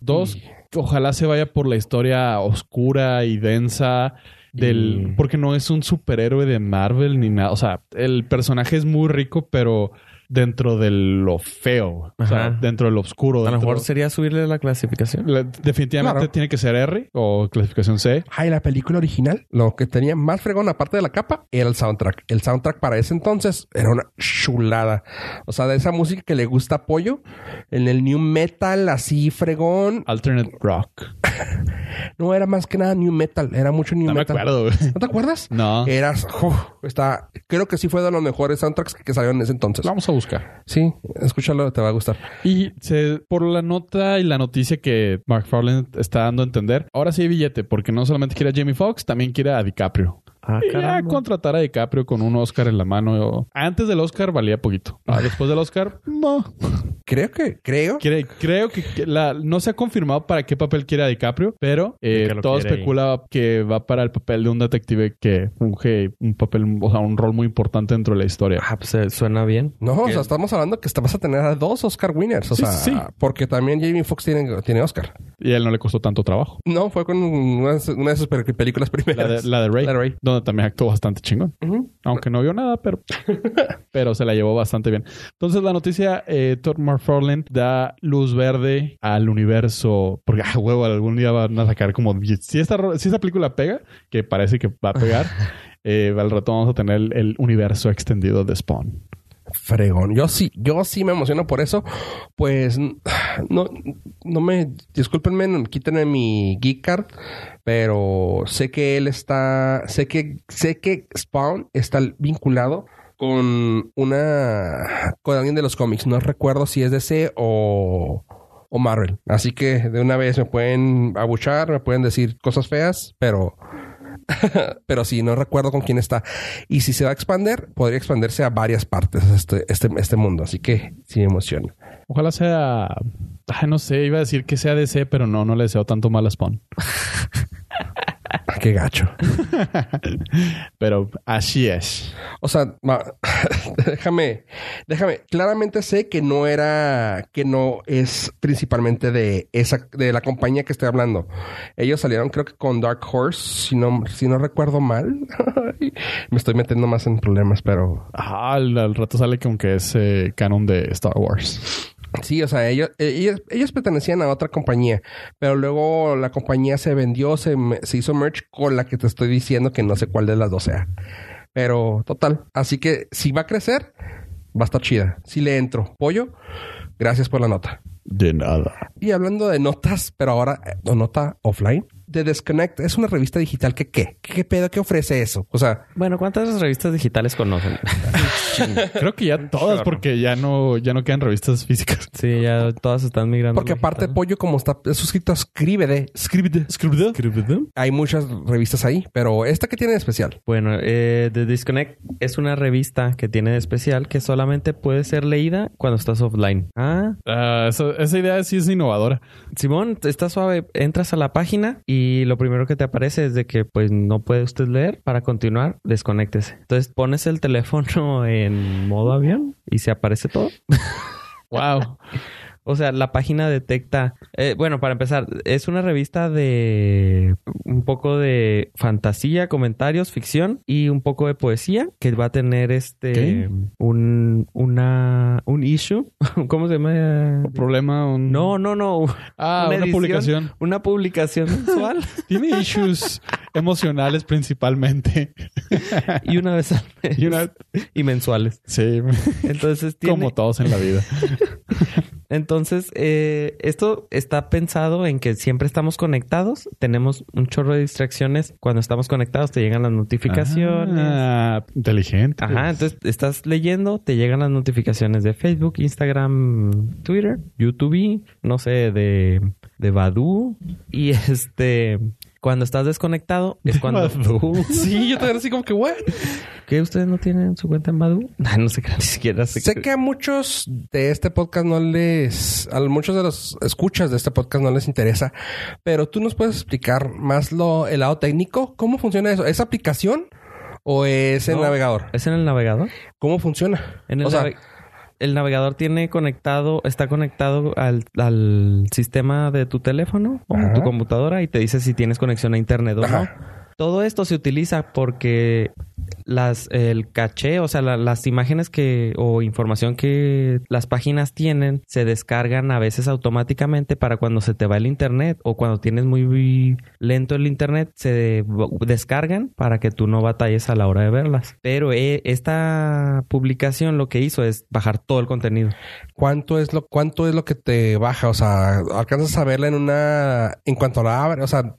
S3: Dos, que ojalá se vaya por la historia oscura y densa del...
S4: Y-
S3: Porque no es un superhéroe de Marvel ni nada. O sea, el personaje es muy rico, pero dentro de lo feo. O sea,
S4: Ajá.
S3: dentro de lo oscuro.
S4: A lo
S3: dentro-
S4: mejor sería subirle la clasificación.
S3: La- definitivamente
S2: Claro.
S3: tiene que ser R o clasificación C.
S2: Ay, la película original, lo que tenía más fregón aparte de la capa era el soundtrack. El soundtrack para ese entonces era una chulada. O sea, de esa música que le gusta a Pollo, en el new metal así fregón,
S3: Alternate Rock.
S2: no era más que nada new metal, era mucho new
S3: No me
S2: metal.
S3: acuerdo. güey.
S2: ¿No te acuerdas?
S3: No.
S4: Eh,
S2: Eras, uf, está, creo que sí fue de los mejores soundtracks que salieron en ese entonces.
S3: Pues Vamos a buscar.
S2: Sí, escúchalo, te va a gustar.
S3: Y se- por la nota y la noticia que McFarlane está dando a entender, ahora sí hay billete, porque no solamente quiere a Jamie Foxx, también quiere a DiCaprio.
S4: Ah,
S3: Y ya
S4: caramba.
S3: contratar a DiCaprio con un Oscar en la mano. Antes del Oscar valía poquito. Ah, Después del Oscar, no.
S2: creo que, creo.
S3: Cre- creo que que la, no se ha confirmado para qué papel quiere a DiCaprio, pero eh,
S5: De que lo
S3: todo
S5: quiere
S3: especula que va para el papel de un detective que funge un papel, o sea, un rol muy importante dentro de la historia.
S4: Ah, pues eh, suena bien.
S2: No, o sea, estamos hablando que hasta vas a tener a dos Oscar winners. O
S3: Sí,
S2: sea,
S3: sí.
S2: porque también Jamie Foxx tiene, tiene Oscar.
S3: Y a él no le costó tanto trabajo.
S2: No, fue con una, una de sus pel- películas
S3: La
S2: primeras.
S3: de, la de Ray,
S2: La de Ray.
S3: donde también actuó bastante chingón.
S2: Ujú.
S3: Aunque no vio nada, pero, pero se la llevó bastante bien. Entonces, la noticia, eh, Todd McFarlane da luz verde al universo. Porque, ah, huevo, algún día van a sacar como... Si esta, ro- si esta película pega, que parece que va a pegar, eh, al rato vamos a tener el, el universo extendido de Spawn.
S2: Fregón. Yo sí, yo sí me emociono por eso. Pues no, no me, discúlpenme, no me quítenme mi geek card, pero sé que él está, sé que, sé que Spawn está vinculado con una, con alguien de los cómics. No recuerdo si es DC o, o Marvel. Así que de una vez me pueden abuchar, me pueden decir cosas feas, pero pero sí, no recuerdo con quién está. Y si se va a expander, podría expandirse a varias partes este, este, este mundo. Así que sí me emociona.
S3: Ojalá sea... ah, no sé, iba a decir que sea DC, pero no, no le deseo tanto mal a Spawn.
S2: Ah, Qué gacho.
S3: Pero así es.
S2: O sea, ma- déjame, déjame. Claramente sé que no era, que no es principalmente de esa, de la compañía que estoy hablando. Ellos salieron, creo que con Dark Horse, si no, si no recuerdo mal. me estoy metiendo más en problemas, pero
S3: Ah, al, al rato sale con que es eh, canon de Star Wars.
S2: Sí, o sea, ellos, ellos, ellos pertenecían a otra compañía, pero luego la compañía se vendió, se, me- se hizo merch con la que te estoy diciendo que no sé cuál de las dos sea. Pero total, así que si va a crecer, va a estar chida. Si le entro, pollo, gracias por la nota.
S3: De nada.
S2: Y hablando de notas, pero ahora eh, no nota offline, The Disconnect es una revista digital que qué, qué pedo que ofrece eso. O sea,
S4: Bueno, ¿cuántas revistas digitales conocen?
S3: Creo que ya todas, porque ya no, ya no quedan revistas físicas.
S4: sí, ya todas están migrando.
S2: porque
S4: a
S2: aparte
S4: digital.
S2: pollo como está es suscrito a Scribd, Scribd, hay muchas revistas ahí, pero esta que tiene de especial.
S4: Bueno, eh, The Disconnect es una revista que tiene de especial que solamente puede ser leída cuando estás offline. Ah,
S3: Ah, esa, esa idea sí es innovadora.
S4: Simón, está suave. Entras a la página y lo primero que te aparece es de que pues no puede usted leer. Para continuar, desconéctese. Entonces pones el teléfono en modo avión y se aparece todo.
S3: Wow.
S4: O sea, la página detecta. eh, bueno, para empezar, es una revista de un poco de fantasía, comentarios, ficción y un poco de poesía que va a tener este
S3: ¿Qué?
S4: un una un issue. ¿Cómo se llama?
S3: Un problema, un...
S4: No, no, no.
S3: Ah, una,
S4: edición,
S3: publicación.
S4: Una publicación mensual
S3: Tiene issues emocionales principalmente.
S4: y una vez al mes.
S3: Y una-
S4: Y mensuales.
S3: Sí,
S4: Entonces tiene.
S3: como todos en la vida.
S4: Entonces, eh, esto está pensado en que siempre estamos conectados. Tenemos un chorro de distracciones. Cuando estamos conectados, te llegan las notificaciones.
S3: Ah, pues. inteligente.
S4: Ajá, entonces estás leyendo, te llegan las notificaciones de Facebook, Instagram, Twitter, YouTube, no sé, de, de Badu. Y este, cuando estás desconectado, es cuando.
S2: Sí, yo también así como que, what?
S4: ¿Qué ustedes no tienen su cuenta en Badu? no se crean, ni siquiera se
S2: Sé que a muchos de este podcast no les, a muchos de los escuchas de este podcast no les interesa, pero tú nos puedes explicar más lo, el lado técnico, cómo funciona eso. ¿Es aplicación o es el
S4: No.
S2: navegador?
S4: ¿Es en el navegador?
S2: ¿Cómo funciona?
S4: En el,
S2: o sea,
S4: nave- el navegador tiene conectado, está conectado al, al sistema de tu teléfono o
S2: Ajá.
S4: tu computadora y te dice si tienes conexión a internet o
S2: Ajá.
S4: no. Todo esto se utiliza porque las el caché, o sea, la- las imágenes que o información que las páginas tienen se descargan a veces automáticamente para cuando se te va el internet o cuando tienes muy lento el internet se descargan para que tú no batalles a la hora de verlas. Pero eh, esta publicación lo que hizo es bajar todo el contenido.
S2: ¿cuánto es lo, cuánto es lo que te baja? O sea, alcanzas a verla en una, en cuanto la abre, o sea,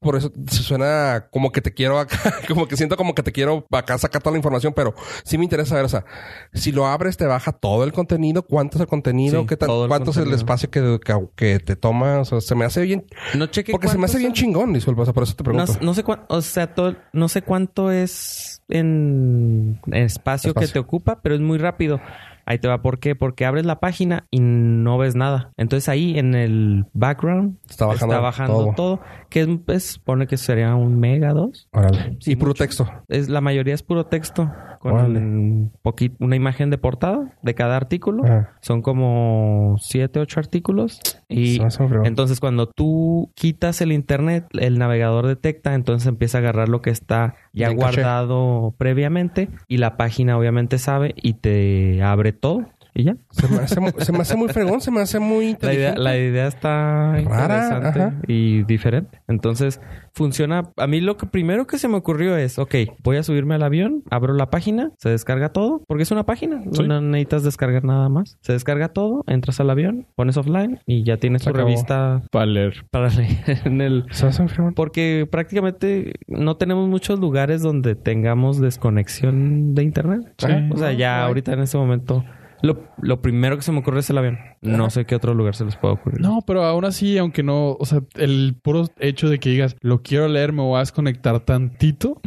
S2: por eso se suena como que te quiero acá, como que siento como que te quiero acá sacar toda la información, pero sí me interesa saber, o sea, si lo abres te baja todo el contenido, cuánto es el contenido,
S4: Sí,
S2: qué tan-
S4: todo el
S2: cuánto es el
S4: contenido.
S2: espacio que, que- que te toma, o sea, se me hace bien,
S4: No cheque
S2: porque se me
S4: cuántos
S2: hace
S4: son.
S2: bien chingón, disculpa, o sea, por eso te
S4: No,
S2: pregunto.
S4: no sé cuánto, o sea, todo- no sé cuánto es en espacio,
S2: Espacio.
S4: que te ocupa, pero es muy rápido. Ahí te va, ¿por qué? Porque abres la página y no ves nada. Entonces ahí en el background
S2: Está bajando todo.
S4: todo. que es, pues, pone que sería un mega, dos.
S2: Órale. Y puro texto.
S4: Es, la mayoría es puro texto, con
S2: Órale.
S4: un poqui- una imagen de portada de cada artículo.
S2: Ah.
S4: Son como siete, ocho artículos. Y
S2: Se me hace un fregón.
S4: entonces cuando tú quitas el internet, el navegador detecta, entonces empieza a agarrar lo que está ya
S2: En caché.
S4: guardado previamente y la página obviamente sabe y te abre todo y ya.
S2: Se me, hace, mu- se me hace muy fregón, se me hace muy
S4: La idea,
S2: inteligente.
S4: la idea está interesante
S2: ajá.
S4: y diferente. Entonces, funciona. A mí lo que primero que se me ocurrió es, ok, voy a subirme al avión, abro la página, se descarga todo, porque es una página,
S3: Sí.
S4: no necesitas descargar nada más. Se descarga todo, entras al avión, pones offline y ya tienes
S2: Se
S4: tu
S2: acabó.
S4: revista
S3: Para leer.
S4: para leer en el...
S2: Se me hace muy fregón.
S4: Porque prácticamente no tenemos muchos lugares donde tengamos desconexión de internet.
S2: Ajá.
S4: O sea, ya ahorita en este momento... Lo, lo primero que se me ocurre es el avión. No sé qué otro lugar se les puede ocurrir.
S3: No, pero aún así, aunque no, o sea, el puro hecho de que digas, lo quiero leer, me voy a desconectar tantito.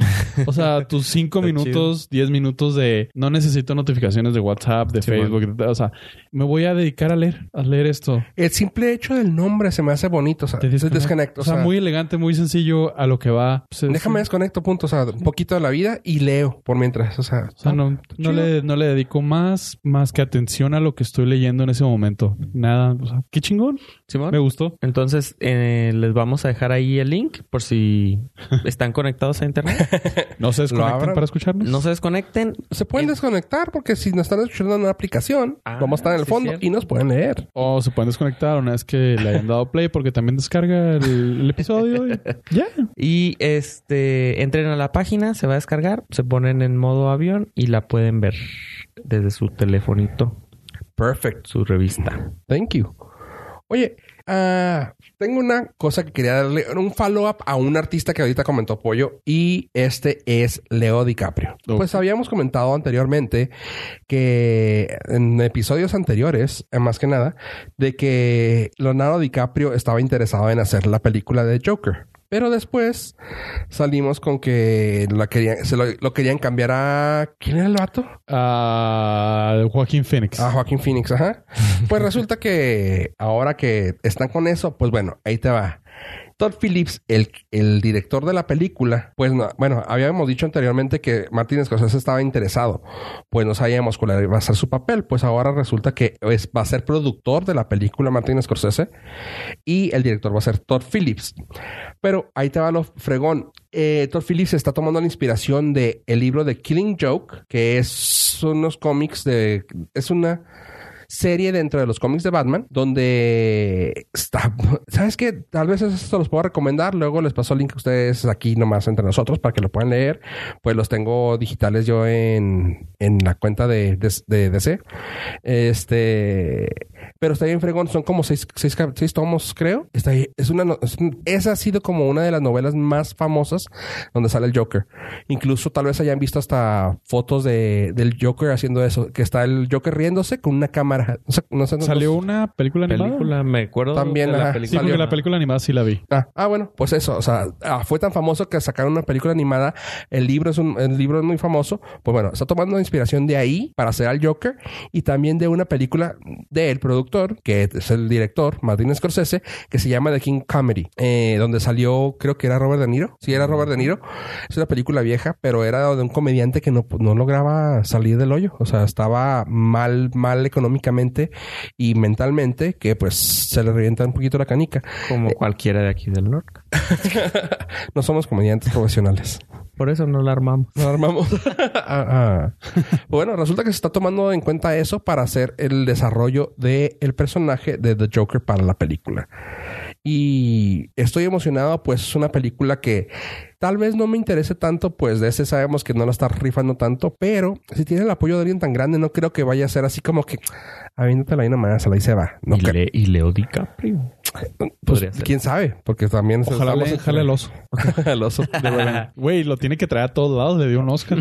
S3: O sea, tus cinco
S4: Está
S3: minutos, diez minutos de no necesito notificaciones de WhatsApp, de
S4: Sí,
S3: Facebook, de- o sea, me voy a dedicar a leer, a leer esto.
S2: El simple hecho del nombre se me hace bonito. O sea,
S3: Te desconectas.
S2: desconecto.
S3: O sea, muy elegante, muy sencillo a lo que va. Pues es-
S2: Déjame desconecto, punto. O sea, un poquito de la vida y leo por mientras. O sea,
S3: O sea, no, no,
S2: chido.
S3: le, no le dedico más, más que atención a lo que estoy leyendo en ese momento. Nada, o sea, qué chingón.
S4: Simón.
S3: Me gustó.
S4: Entonces, eh, les vamos a dejar ahí el link por si están conectados a internet.
S3: No se desconecten
S2: abran.
S3: para escucharnos.
S4: No se desconecten.
S2: se pueden desconectar porque si nos están escuchando en una aplicación,
S4: Ah,
S2: vamos a estar en el
S4: sí,
S2: fondo
S4: cierto.
S2: y nos pueden leer.
S3: O se pueden desconectar una vez que le hayan dado play porque también descarga el, el episodio. y- Ya.
S4: Y este entren a la página, se va a descargar, se ponen en modo avión y la pueden ver desde su telefonito,
S2: Perfect.
S4: su revista.
S2: Thank you. Oye, ah, tengo una cosa que quería darle un follow-up a un artista que ahorita comentó Pollo y este es Leo DiCaprio.
S3: Ok.
S2: Pues habíamos comentado anteriormente que en episodios anteriores, eh, más que nada, de que Leonardo DiCaprio estaba interesado en hacer la película de Joker. Pero después salimos con que la querían, se lo, lo querían cambiar a... ¿Quién era el vato?
S3: A Ah, Joaquín Phoenix.
S2: A Ah, Joaquín Phoenix, ajá. Pues resulta que ahora que están con eso, pues bueno, ahí te va. Todd Phillips, el, el director de la película, pues no- bueno, habíamos dicho anteriormente que Martin Scorsese estaba interesado, pues no sabíamos cuál iba a ser su papel, pues ahora resulta que es- va a ser productor de la película Martin Scorsese y el director va a ser Todd Phillips. Pero ahí te va lo fregón. Eh, Todd Phillips está tomando la inspiración de el libro de Killing Joke, que es unos cómics de... es una serie dentro de los cómics de Batman donde está... ¿Sabes qué? Tal vez eso se los puedo recomendar. Luego les paso el link a ustedes aquí nomás entre nosotros para que lo puedan leer. Pues los tengo digitales yo en, en la cuenta de, de- de DC. Este... Pero está bien fregón. Son como seis, seis cap- seis tomos, creo. Está ahí. Es una... no- es un- esa ha sido como una de las novelas más famosas donde sale el Joker. Incluso tal vez hayan visto hasta fotos de, del Joker haciendo eso. Que está el Joker riéndose con una cámara. No sé, no sé- no-
S3: Salió una película animada.
S4: Película, me acuerdo.
S2: También,
S4: de la
S2: ajá.
S3: Sí,
S4: película.
S3: porque la película animada sí la vi.
S2: Ah, ah, bueno, pues eso, o sea, ah, fue tan famoso que sacaron una película animada, el libro es un el libro es muy famoso, pues bueno, está tomando inspiración de ahí para hacer al Joker y también de una película del productor, que es el director, Martin Scorsese, que se llama The King Comedy, eh, donde salió, creo que era Robert De Niro, sí era Robert De Niro, es una película vieja, pero era de un comediante que no, no lograba salir del hoyo, o sea, estaba mal, mal económicamente y mentalmente, que pues se le revienta un poquito la canica.
S4: Como
S2: Eh,
S4: cualquiera de aquí del norte.
S2: No somos comediantes profesionales.
S4: Por eso no la armamos.
S2: Nos armamos. Ah, ah. Bueno, resulta que se está tomando en cuenta eso para hacer el desarrollo del personaje de The Joker para la película. Y estoy emocionado, pues es una película que tal vez no me interese tanto, pues de ese sabemos que no la está rifando tanto, pero si tiene el apoyo de alguien tan grande, no creo que vaya a ser así como que "Ah, aviéntatela ahí nomás, se la se va. No
S4: y,
S2: creo.
S4: Le- y Leo DiCaprio.
S2: Pues,
S4: podría ser.
S2: quién sabe, porque también
S3: Ojalá le,
S2: estamos-
S3: jale el oso.
S2: al oso.
S3: Güey, lo tiene que traer a todos lados. Le dio un Oscar.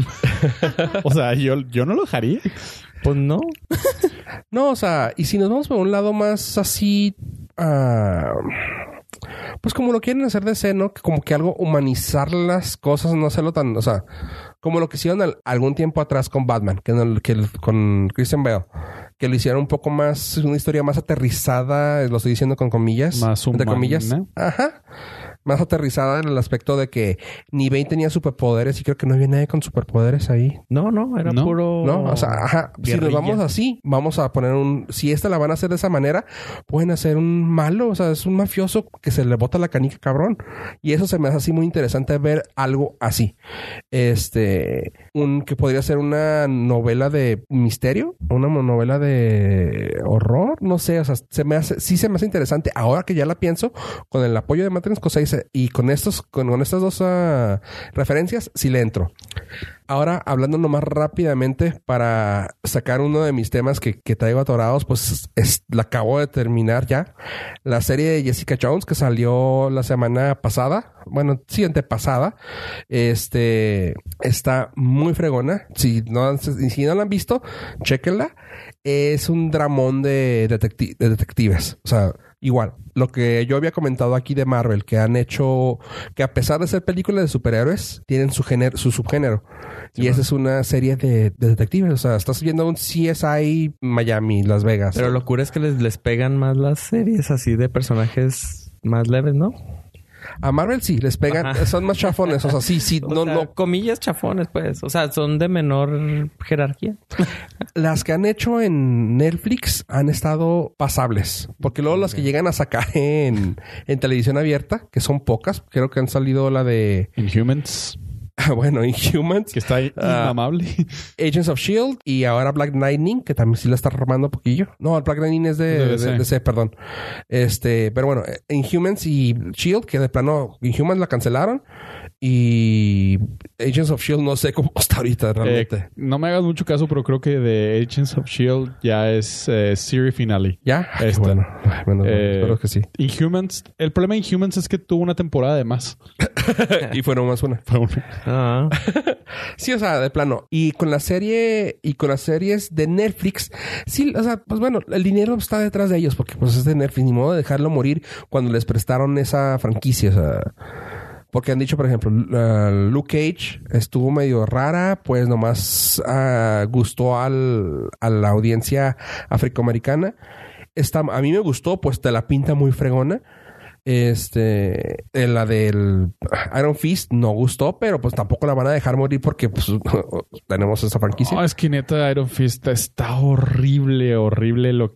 S3: o sea, yo, yo no lo dejaría.
S4: Pues no.
S2: No, o sea, y si nos vamos por un lado más así. ah, pues como lo quieren hacer de C, ¿no? Que Como que algo humanizar las cosas, no hacerlo tan, o sea, como lo que hicieron al- algún tiempo atrás con Batman, que, en el- que el- con Christian Bale, que lo hicieron un poco más, una historia más aterrizada, eh, lo estoy diciendo con comillas,
S3: Más
S2: entre comillas,
S3: humana.
S2: ajá, más aterrizada en el aspecto de que ni Bane tenía superpoderes y creo que no había nadie con superpoderes ahí,
S4: No, no, era
S3: No,
S4: puro.
S2: ¿no? O sea, ajá, si
S4: guerrilla.
S2: nos vamos así, vamos a poner un. Si esta la van a hacer de esa manera, pueden hacer un malo, o sea, es un mafioso que se le bota la canica, cabrón. Y eso se me hace así muy interesante ver algo así. Este, un que podría ser una novela de misterio, una mo- novela de horror, no sé, o sea, se me hace, sí se me hace interesante. Ahora que ya la pienso, con el apoyo de Matrix Scorsese y con estos, con, con estas dos ah, referencias, sí le entro. Ahora, hablando nomás rápidamente para sacar uno de mis temas que, que traigo atorados, pues es, la acabo de terminar ya. La serie de Jessica Jones que salió la semana pasada, bueno, siguiente pasada, este, está muy fregona. Si no, han- si no la han visto, chéquenla. Es un dramón de, detecti- de detectives. O sea, Igual, lo que yo había comentado aquí de Marvel, que han hecho, que a pesar de ser películas de superhéroes, tienen su género, su subgénero. y esa es una serie de, de detectives. O sea, estás viendo un CSI Miami, Las Vegas.
S4: Pero lo cura es que les, les pegan más las series así de personajes más leves, ¿no?
S2: A Marvel sí, les pegan,
S4: Ajá.
S2: son más chafones. O sea, sí, sí,
S4: O
S2: no,
S4: sea,
S2: no.
S4: Comillas chafones, pues. O sea, son de menor jerarquía.
S2: Las que han hecho en Netflix han estado pasables. Porque luego las que llegan a sacar en, en televisión abierta, que son pocas, creo que han salido la de, ah,
S3: Inhumans, Ah,
S2: bueno, Inhumans.
S3: que está inamable.
S2: Agents of Shield E y ahora Black Lightning, que también sí la está armando un poquillo. No, el Black Lightning es de,
S3: De
S2: de-
S3: DC.
S2: de DC, perdón. Este, pero bueno, eh, Inhumans y Shield, E que de plano, Inhumans la cancelaron. Y Agents of Shield E no sé cómo está ahorita realmente.
S3: Eh, no me hagas mucho caso, pero creo que The Agents of Shield E ya es eh, serie finale.
S2: ¿Ya? Ay, qué
S3: esta.
S2: Bueno, Ay, menos mal.
S3: Eh,
S2: espero que sí.
S3: Inhumans, el problema de Inhumans es que tuvo una temporada de más.
S2: y fueron más una.
S3: Fue una-
S4: Ah,
S2: Sí, o sea, de plano. Y con la serie y con las series de Netflix, sí, o sea, pues bueno, el dinero está detrás de ellos porque pues es de Netflix, ni modo de dejarlo morir cuando les prestaron esa franquicia, o sea, porque han dicho, por ejemplo, la- Luke Cage estuvo medio rara, pues nomás ah, gustó al, a la audiencia afroamericana. Está, a mí me gustó, pues te la pinta muy fregona. Este, en la del Iron Fist no gustó, pero pues tampoco la van a dejar morir porque pues, tenemos esa franquicia.
S3: No, es que neta Iron Fist está horrible, horrible. Lo...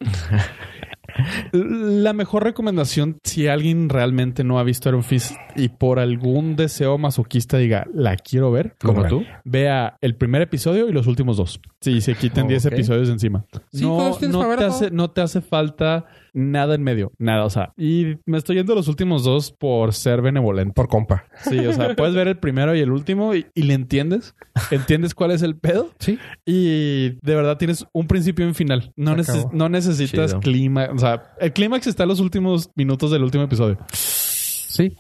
S3: La mejor recomendación, si alguien realmente no ha visto Iron Fist y por algún deseo masoquista diga, la quiero ver,
S4: como tú.
S3: vea el primer episodio y los últimos dos. Sí, se quiten 10
S2: Ok.
S3: episodios de encima.
S2: Sí,
S3: no,
S2: todos tienes
S3: no
S2: para ver
S3: te
S2: todo.
S3: hace, no te hace falta nada en medio, nada, o sea, y me estoy yendo a los últimos dos por ser benevolente.
S2: Por compa.
S3: Sí, o sea, puedes ver el primero y el último y, y le entiendes, entiendes cuál es el pedo
S2: Sí.
S3: y de verdad tienes un principio y un final. No,
S2: Se
S3: neces-
S2: acabó.
S3: no necesitas
S4: Chido.
S3: clímax, o sea, el clímax está en los últimos minutos del último episodio.
S2: Sí.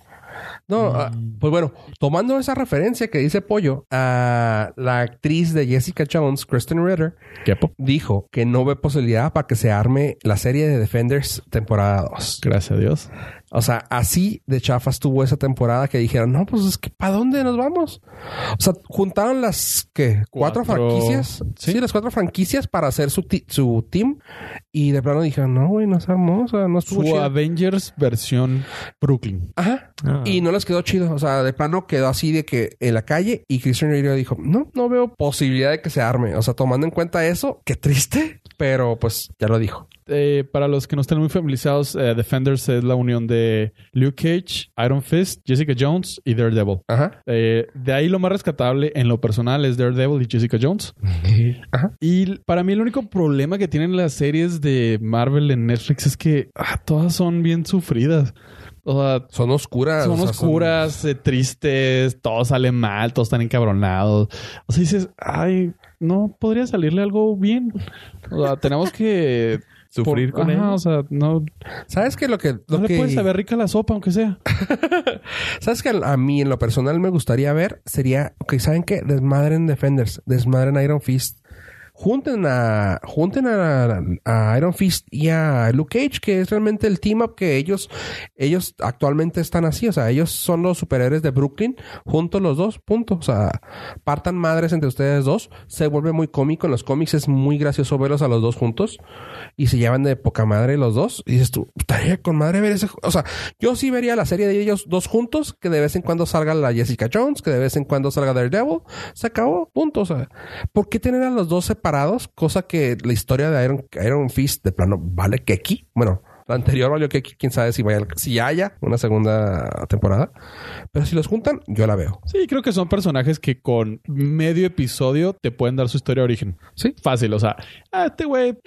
S2: No, ah, pues bueno, tomando esa referencia que dice Pollo, a la actriz de Jessica Jones, Kristen Ritter,
S3: Quepo.
S2: dijo que no ve posibilidad para que se arme la serie de Defenders temporada 2.
S3: Gracias a Dios.
S2: O sea, así de chafas tuvo esa temporada que dijeron, no, pues es que ¿para dónde nos vamos? O sea, juntaron las que
S3: Cuatro.
S2: cuatro, franquicias,
S3: Sí.
S2: ¿Sí? las cuatro franquicias para hacer su, ti- su team y de plano dijeron, no, güey, no sabemos, o sea, no estuvo
S3: Su
S2: chido".
S3: Avengers versión Brooklyn.
S2: Ajá.
S4: Ah.
S2: Y no les quedó chido. O sea, de plano quedó así de que en la calle y Christian Ritter dijo, no, no veo posibilidad de que se arme. O sea, tomando en cuenta eso, qué triste, pero pues ya lo dijo.
S3: Eh, para los que no estén muy familiarizados, eh, Defenders es la unión de Luke Cage, Iron Fist, Jessica Jones y Daredevil.
S2: Ajá.
S3: Eh, de ahí lo más rescatable en lo personal es Daredevil y Jessica Jones. Y l- para mí el único problema que tienen las series de Marvel en Netflix es que ah, todas son bien sufridas. O sea,
S2: Son oscuras. Ah, o
S3: son
S2: sea,
S3: oscuras, eh, tristes, todo sale mal, todos están encabronados. O sea, dices, ay, no podría salirle algo bien. O sea, tenemos que
S4: Sufrir con
S3: Ajá,
S4: ello.
S3: O sea, no,
S2: ¿Sabes que lo que... Lo
S3: no le
S2: que...
S3: puedes saber rica la sopa, aunque sea.
S2: ¿Sabes que a mí en lo personal me gustaría ver? Sería, ok, ¿saben qué? Desmadren Defenders, desmadren Iron Fist. junten a junten a, a Iron Fist y a Luke Cage, que es realmente el team up que ellos ellos actualmente están así, o sea, ellos son los superhéroes de Brooklyn, juntos los dos, punto, o sea, partan madres entre ustedes dos, se vuelve muy cómico en los cómics, es muy gracioso verlos a los dos juntos y se llevan de poca madre los dos, y dices tú, estaría con madre ver ese, o sea, yo sí vería la serie de ellos dos juntos, que de vez en cuando salga la Jessica Jones, que de vez en cuando salga Daredevil, se acabó, punto. O sea, ¿por qué tener a los dos separados? Cosa que la historia de Iron, Iron Fist de plano vale que aquí. Bueno, la anterior valió que aquí, quién sabe si vaya, si haya una segunda temporada. Pero si los juntan, yo la veo.
S3: Sí, creo que son personajes que con medio episodio te pueden dar su historia de origen.
S2: Sí.
S3: Fácil, o sea, ah, este güey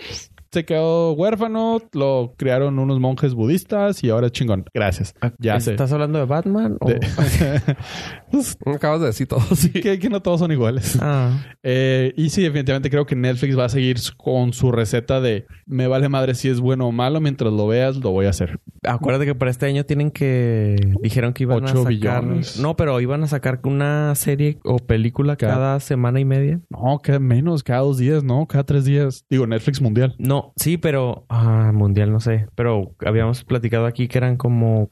S3: se quedó huérfano, lo criaron unos monjes budistas y ahora es chingón. Gracias. Ya sé. Pues,
S4: ¿Estás hablando de Batman? o-
S2: Acabas de decir todo, sí.
S3: Oh. que, que no todos son iguales.
S4: Ah,
S3: pues Eh, y sí, definitivamente creo que Netflix va a seguir con su receta de me vale madre si es bueno o malo, mientras lo veas lo voy a hacer.
S4: acuérdate que para este año tienen que... Dijeron que iban a
S3: Ocho
S4: sacar...
S3: billones.
S4: No, pero iban a sacar una serie o película
S3: Cada-
S4: cada semana y media.
S3: No, cada menos, cada dos días, no, cada tres días. Digo, Netflix mundial.
S4: No, sí, pero... Ah, mundial, no sé. Pero habíamos platicado aquí que eran como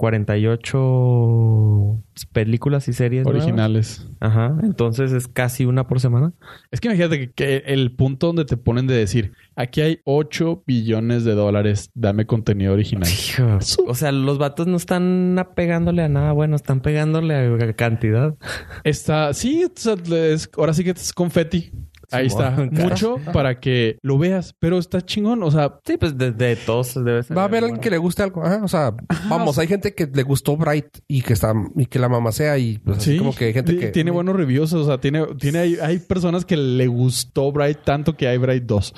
S4: 48 películas y series nuevas.
S3: Originales.
S4: Ajá. Entonces es casi una por semana.
S3: Es que imagínate que, que el punto donde te ponen de decir, aquí hay 8 billones de dólares, dame contenido original.
S4: Hijo, O sea, los vatos no están pegándole a nada bueno. Están pegándole a cantidad.
S3: Está, sí, o sea, es- ahora sí que es confeti. Ahí está.
S4: bueno, claro.
S3: Mucho para que lo veas, pero está chingón. O sea,
S4: Sí, pues de, de todos debe ser.
S2: Va a haber alguien que le guste algo. Ajá, o sea, vamos, hay gente que le gustó Bright y que está y que la mamá sea y pues así
S3: sí,
S2: como que hay gente
S3: ti-
S2: que
S3: tiene buenos reviews. O sea, tiene, tiene, hay, hay personas que le gustó Bright tanto que hay Bright 2.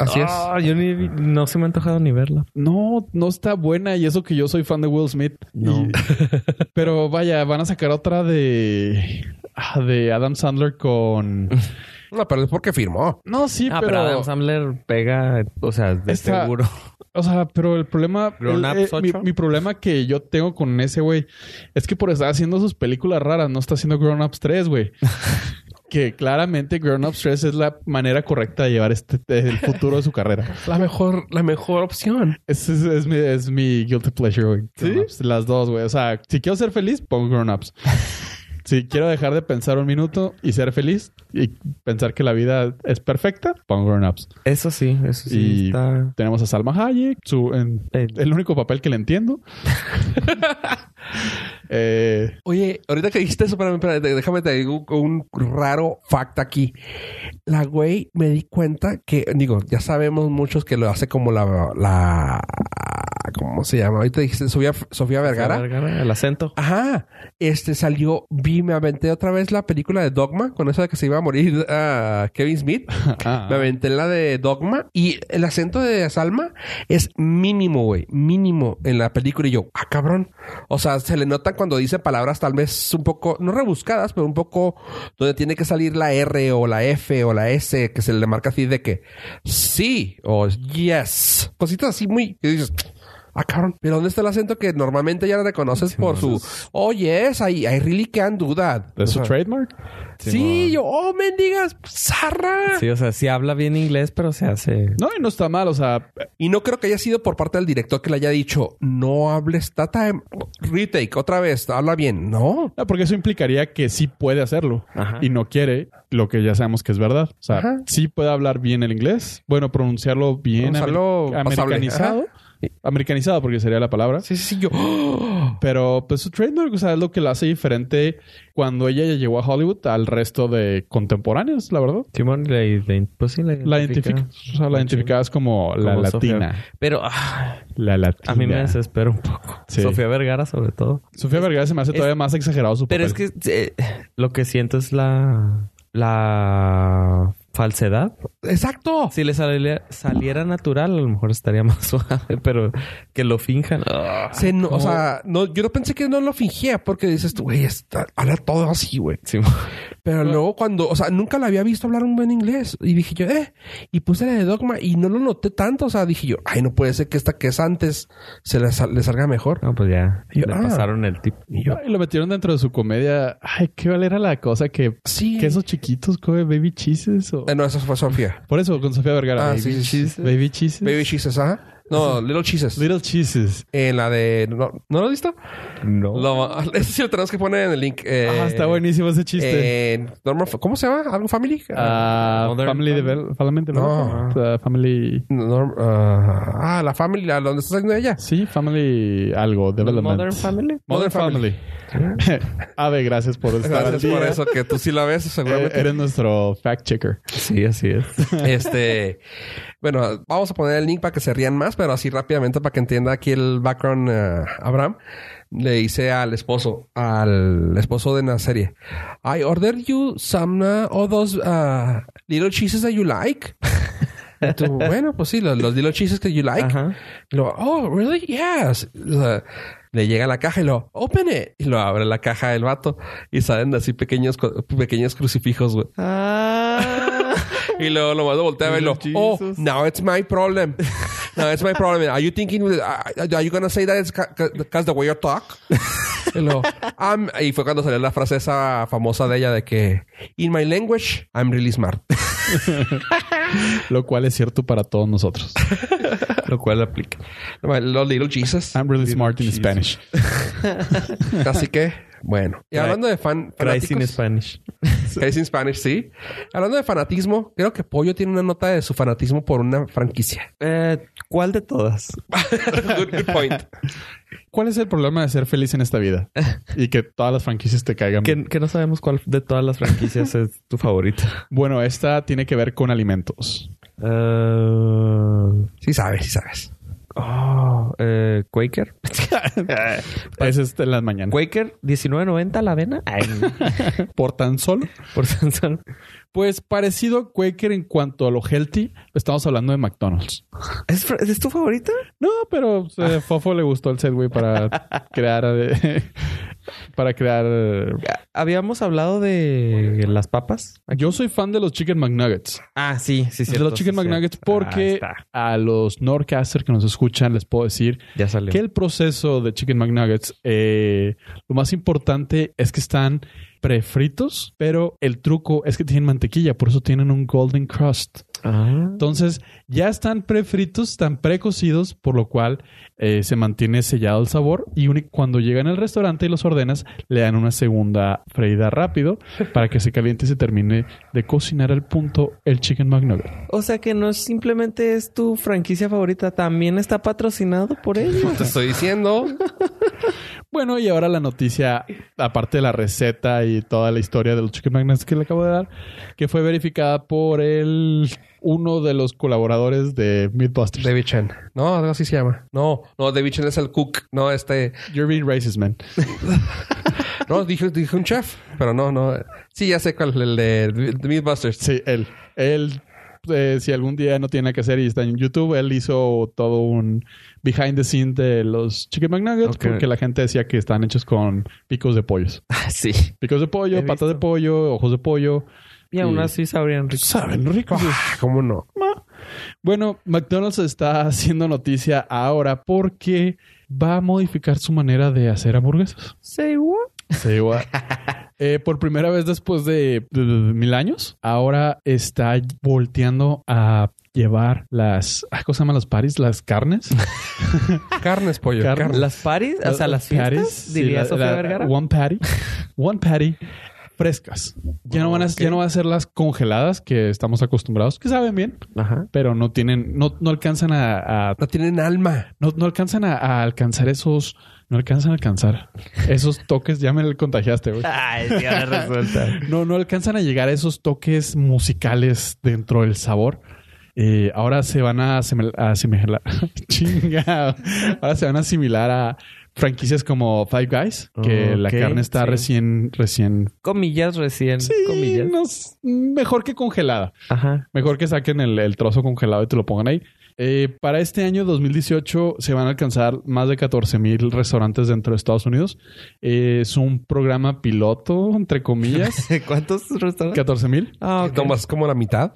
S2: Así es.
S4: Ah, yo ni, vi- no se me ha antojado ni verla.
S3: No, no está buena y eso que yo soy fan de Will Smith.
S4: No.
S3: Y- pero vaya, van a sacar otra de, ah, de Adam Sandler con...
S2: No, pero es porque firmó.
S3: No, sí,
S4: ah, pero,
S3: pero...
S4: Adam Sandler pega, o sea, de
S3: Está-
S4: seguro.
S3: O sea, pero el problema...
S4: Grown
S3: el-
S4: Ups
S3: eh, mi,
S4: 8.
S3: mi problema que yo tengo con ese güey es que por estar haciendo sus películas raras, no está haciendo Grown Ups 3, güey. que claramente Grown Ups 3 es la manera correcta de llevar este, el futuro de su carrera.
S2: La mejor, la mejor opción.
S3: Ese es, es mi, es mi guilty pleasure, güey. Grown Ups, Las dos, güey. O sea, si quiero ser feliz, pongo Grown Ups. Si quiero dejar de pensar un minuto y ser feliz y pensar que la vida es perfecta, pongo Grown Ups.
S4: Eso sí, eso sí
S3: Y-
S4: está.
S3: Tenemos a Salma Hayek, su, en-
S4: Eh,
S3: el único papel que le entiendo. Eh,
S2: Oye, ahorita que dijiste eso, espérame, espérame, de- déjame te digo un raro fact aquí. La güey me di cuenta que, digo, ya sabemos muchos que lo hace como la, la, ¿cómo se llama? Ahorita dijiste Sofía, Sofía Vergara.
S4: El acento.
S2: Ajá, este salió, vi, me aventé otra vez la película de Dogma, con esa de que se iba a morir ah, Kevin Smith.
S3: ah,
S2: Me aventé la de Dogma y el acento de Salma es mínimo, güey. Mínimo en la película. Y yo, ah, cabrón. O sea, se le nota cuando dice palabras tal vez un poco, no rebuscadas, pero un poco donde tiene que salir la R o la F o la S, que se le marca así de que sí o yes. Cositas así muy. Y dices, ah, cabrón. Pero ¿dónde está el acento que normalmente ya lo reconoces por su, oh, yes, I, I really can do that?
S3: ¿Es su
S2: O sea,
S3: trademark?
S2: Sí, yo, oh, mendigas, zarra.
S4: Sí, o sea, sí habla bien inglés, pero se hace.
S3: No, y no está mal. O sea, eh,
S2: Y no creo que haya sido por parte del director que le haya dicho, no hables, trata de retake otra vez, habla bien. No.
S3: no, porque eso implicaría que sí puede hacerlo
S4: Ajá.
S3: y no quiere lo que ya sabemos que es verdad. O sea,
S2: Ajá.
S3: sí puede hablar bien el inglés, bueno, pronunciarlo bien,
S2: Pronunciarlo
S3: amer-
S2: pasable.
S3: americanizado. Americanizado, porque sería la palabra.
S2: Sí, sí, sí, yo.
S3: Pero pues su trademark, o sea, es lo que la hace diferente cuando ella ya llegó a Hollywood al resto de contemporáneos, la verdad.
S4: Simón le, le- pues sí, la
S3: La identifica, o sea, la identificabas como la
S4: Como Sofía.
S3: latina.
S4: Pero ah,
S3: La latina.
S4: a mí me desespera un poco.
S3: Sí.
S4: Sofía Vergara, sobre todo.
S3: Sofía Vergara se me hace
S4: es-
S3: todavía más exagerado su
S4: Pero
S3: papel.
S4: es que eh, lo que siento es la. La falsedad.
S2: Exacto.
S4: Si le saliera, saliera natural, a lo mejor estaría más suave, pero que lo finjan. ah.
S2: Se no- o sea, no, yo no pensé que no lo fingía porque dices tú, güey, está- habla todo así, güey.
S4: Simón.
S2: Pero luego cuando, o sea, nunca la había visto hablar un buen inglés y dije yo, eh, y puse la de dogma y no lo noté tanto. O sea, dije yo, ay, no puede ser que esta que es antes se le, sal- le salga mejor.
S4: No, pues ya.
S2: Y yo,
S4: le
S2: ah.
S4: pasaron el tip.
S2: Y yo,
S3: Ay, lo metieron dentro de su comedia. Ay, qué valera la cosa que
S2: sí.
S3: que esos chiquitos come baby cheeses o
S2: Eh, no, esa fue Sofía. Vergara.
S3: Por eso, con Sofía Vergara.
S2: Ah,
S3: Baby
S2: sí, sí, sí.
S3: Cheese- Baby Cheeses.
S2: Baby Cheeses, ajá. No, Little Cheeses.
S3: Little Cheeses.
S2: Eh, la de... ¿No, ¿no lo has visto?
S3: No.
S2: Lo, eso sí lo tenemos que poner en el link. Eh,
S3: ah, está buenísimo ese chiste.
S2: Eh, Norman- ¿Cómo se llama? ¿Algo Family?
S3: Ah,
S4: Modern
S3: family
S4: Family.
S3: Devel- Family Development. Ah, Family.
S2: Norm- ah, ah, la Family, la, donde está haciendo ella.
S3: Sí, Family algo. Development.
S4: Modern Family.
S3: Modern
S2: Modern
S3: Family. Ave, gracias por estar
S2: Gracias
S3: al día.
S2: por eso, que tú sí la ves,
S3: Eh,
S2: seguramente.
S3: Eres nuestro fact checker.
S4: Sí, así es.
S2: Este, bueno, vamos a poner el link para que se rían más, pero así rápidamente para que entienda aquí el background eh, Abraham. Le dice al esposo, al esposo de la serie, I ordered you some uh, all those uh, little cheeses that you like. Y tú, bueno, pues sí, los, los little cheeses que you like.
S4: Ajá.
S2: Y luego, oh, really? Yes. O sea, le llega la caja y lo open it. Y lo abre la caja del vato y salen así pequeños, co- pequeños crucifijos, güey.
S4: Ah.
S2: Y luego lo más voltea a verlo. Oh,
S4: Jesus.
S2: now it's my problem. Now it's my problem. Are you thinking, are are you gonna say that it's because the way you talk? Y, luego, "I'm-" y fue cuando salió la frase esa famosa de ella de que, in my language, I'm really smart.
S3: Lo cual es cierto para todos nosotros.
S4: Lo cual aplica.
S2: Los little Jesus.
S3: I'm really smart in Spanish.
S2: Así que, bueno. Y hablando de fan.
S4: Cries in
S2: fanáticos-
S4: Spanish.
S2: Crazy in Spanish, sí. Hablando de fanatismo, creo que Pollo tiene una nota de su fanatismo por una franquicia.
S4: Eh, ¿Cuál de todas?
S2: good, good point.
S3: ¿Cuál es el problema de ser feliz en esta vida? Y que todas las franquicias te caigan.
S4: Que, que no sabemos cuál de todas las franquicias es tu favorita.
S3: Bueno, esta tiene que ver con alimentos.
S4: Eh,
S2: Sí sabes, sí sabes.
S4: oh, eh, Quaker.
S3: Esa es de las mañanas.
S4: Quaker 19.90 la avena. Ay,
S3: Por tan solo.
S4: por San Salvador.
S3: Pues parecido a Quaker en cuanto a lo healthy, estamos hablando de McDonald's.
S4: ¿Es, fr- ¿Es tu favorita?
S3: No, pero o sea, Fofo le gustó el Segway para crear. eh, para crear. eh,
S4: Habíamos hablado de las papas.
S3: Yo soy fan de los Chicken McNuggets.
S4: Ah, sí, sí, Ah, sí.
S3: de los Chicken McNuggets porque a los Norcaster que nos escuchan les puedo decir
S4: ya salió.
S3: que el proceso de Chicken McNuggets, eh, lo más importante es que están prefritos, pero el truco es que tienen mantequilla, por eso tienen un golden crust.
S4: Ah.
S3: Entonces ya están prefritos, están precocidos, por lo cual eh, se mantiene sellado el sabor y uni- cuando llegan al restaurante y los ordenas, le dan una segunda freída rápido para que se caliente y se termine de cocinar al punto el Chicken McNugget.
S4: O sea que no es simplemente es tu franquicia favorita, también está patrocinado por ellos.
S2: Te estoy diciendo.
S3: Bueno, y ahora la noticia, aparte de la receta y toda la historia de los chicken magnets que le acabo de dar, que fue verificada por el uno de los colaboradores de Mythbusters.
S2: David Chen. No, algo así se llama. No, no, David Chen es el cook. No, este.
S3: You're being racist, man.
S2: No, dije, dije un chef, pero no, no. Sí, ya sé cuál, el de, de Mythbusters.
S3: Sí, él. Él, eh, si algún día no tiene nada que hacer y está en YouTube, él hizo todo un behind the scene de los chicken McNuggets
S4: Ok.
S3: porque la gente decía que están hechos con picos de pollos.
S4: Ah, sí.
S3: Picos de pollo,
S4: He
S3: patas de
S4: visto.
S3: pollo, ojos de pollo.
S4: Y aún así sabrían rico.
S3: Saben ricos.
S2: Ah, ¿Cómo no?
S3: Bueno, McDonald's está haciendo noticia ahora porque va a modificar su manera de hacer hamburguesas.
S4: Say what?
S3: Sí, gua- Eh, por primera vez después de, de- de- de mil años, ahora está volteando a llevar las... ah, ¿Cómo se llaman las paris? Las carnes.
S2: Carnes, pollo.
S3: Carne.
S2: carnes.
S4: Las paris, o sea, las fiestas,
S3: Patties, sí,
S4: diría
S3: la-
S4: Sofía
S3: la-
S4: Vergara.
S3: One patty. One patty. Frescas. Ya no van a, ya no va a ser las congeladas que estamos acostumbrados, que saben bien,
S4: Ajá.
S3: pero no tienen, no, no alcanzan a- a
S2: No tienen alma.
S3: No, no alcanzan a, a alcanzar esos. No alcanzan a alcanzar esos toques. Ya me contagiaste, güey.
S4: Ay, sí, ahora resulta.
S3: No, no alcanzan a llegar a esos toques musicales dentro del sabor. Eh, ahora se van a asemel- a asimilar. Chinga. Ahora se van a asimilar a franquicias como Five Guys, que la
S4: Ok,
S3: carne está
S4: sí.
S3: recién, recién.
S4: Comillas recién. comillas.
S3: no es- mejor que congelada.
S4: Ajá.
S3: Mejor que saquen el, el trozo congelado y te lo pongan ahí. Eh, para este año 2018 se van a alcanzar más de 14 mil restaurantes dentro de Estados Unidos. Eh, es un programa piloto, entre comillas.
S4: ¿Cuántos restaurantes?
S3: 14 mil.
S4: Ah, ok.
S2: Tomas como la mitad.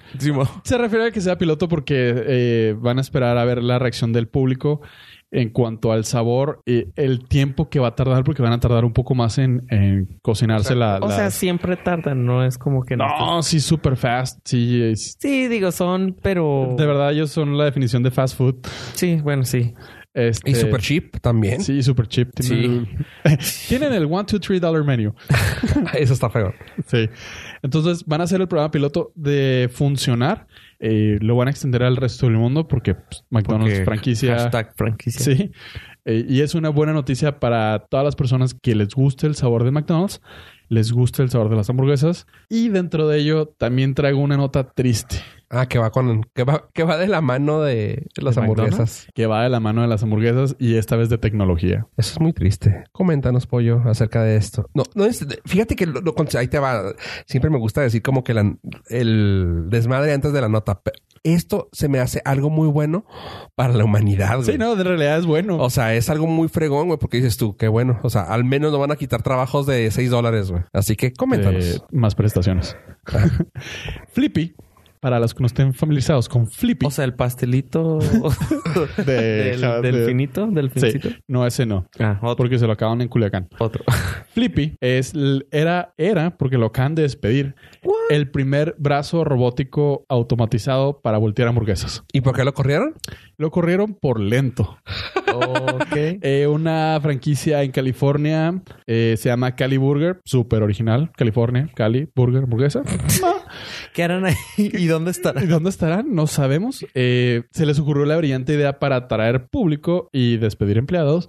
S3: Se refiere a que sea piloto porque eh, van a esperar a ver la reacción del público. en cuanto al sabor, eh, el tiempo que va a tardar, porque van a tardar un poco más en, en cocinarse la...
S4: O sea,
S3: las-
S4: siempre tardan, no es como que
S3: no, sí, super fast. Sí, es-
S4: Sí, digo, son, pero.
S3: de verdad ellos son la definición de fast food.
S4: Sí, bueno, sí.
S3: Este,
S2: Y super cheap también.
S3: Sí, super cheap.
S2: Sí.
S3: Tienen el one, two, three dollar menu.
S2: Eso está feo.
S3: Sí. Entonces van a hacer el programa piloto de funcionar. Eh, lo van a extender al resto del mundo porque pues, McDonald's
S4: Porque
S3: franquicia.
S4: Hashtag franquicia.
S3: Sí. Eh, y es una buena noticia para todas las personas que les guste el sabor de McDonald's, les guste el sabor de las hamburguesas. Y dentro de ello también traigo una nota triste
S2: Ah, que va con que va, que va de la mano de las
S3: ¿De
S2: hamburguesas.
S3: que va de la mano de las hamburguesas y esta vez de tecnología.
S2: Eso es muy triste. Coméntanos, pollo, acerca de esto. No, no es, fíjate que lo- lo- ahí te va. Siempre me gusta decir como que la- el desmadre antes de la nota. Pe- Esto se me hace algo muy bueno para la humanidad. güey.
S3: Sí, no, de realidad es bueno.
S2: O sea, es algo muy fregón, güey, porque dices tú, qué bueno. O sea, al menos no van a quitar trabajos de 6 dólares, güey. Así que coméntanos.
S3: Eh, más prestaciones. Flippy, para los que no estén familiarizados con Flippy,
S4: O sea, el pastelito
S3: de-
S4: del,
S3: ja-
S4: del
S3: de-
S4: finito, del
S3: Sí,
S4: fincito.
S3: no, ese no.
S4: Ah, otro.
S3: Porque se lo acaban en Culiacán.
S4: otro.
S3: Flippy es, l- era, era, porque lo acaban de despedir, el primer brazo robótico automatizado para voltear hamburguesas.
S2: ¿Y por qué lo corrieron?
S3: Lo corrieron por lento.
S4: ok.
S3: Eh, una franquicia en California eh, se llama Cali Burger, súper original. California, Cali, Burger, hamburguesa.
S4: ¿Qué harán ahí? ¿Y dónde
S3: ¿Y
S4: estarán?
S3: ¿Dónde estarán? No sabemos. Eh, se les ocurrió la brillante idea para atraer público y despedir empleados,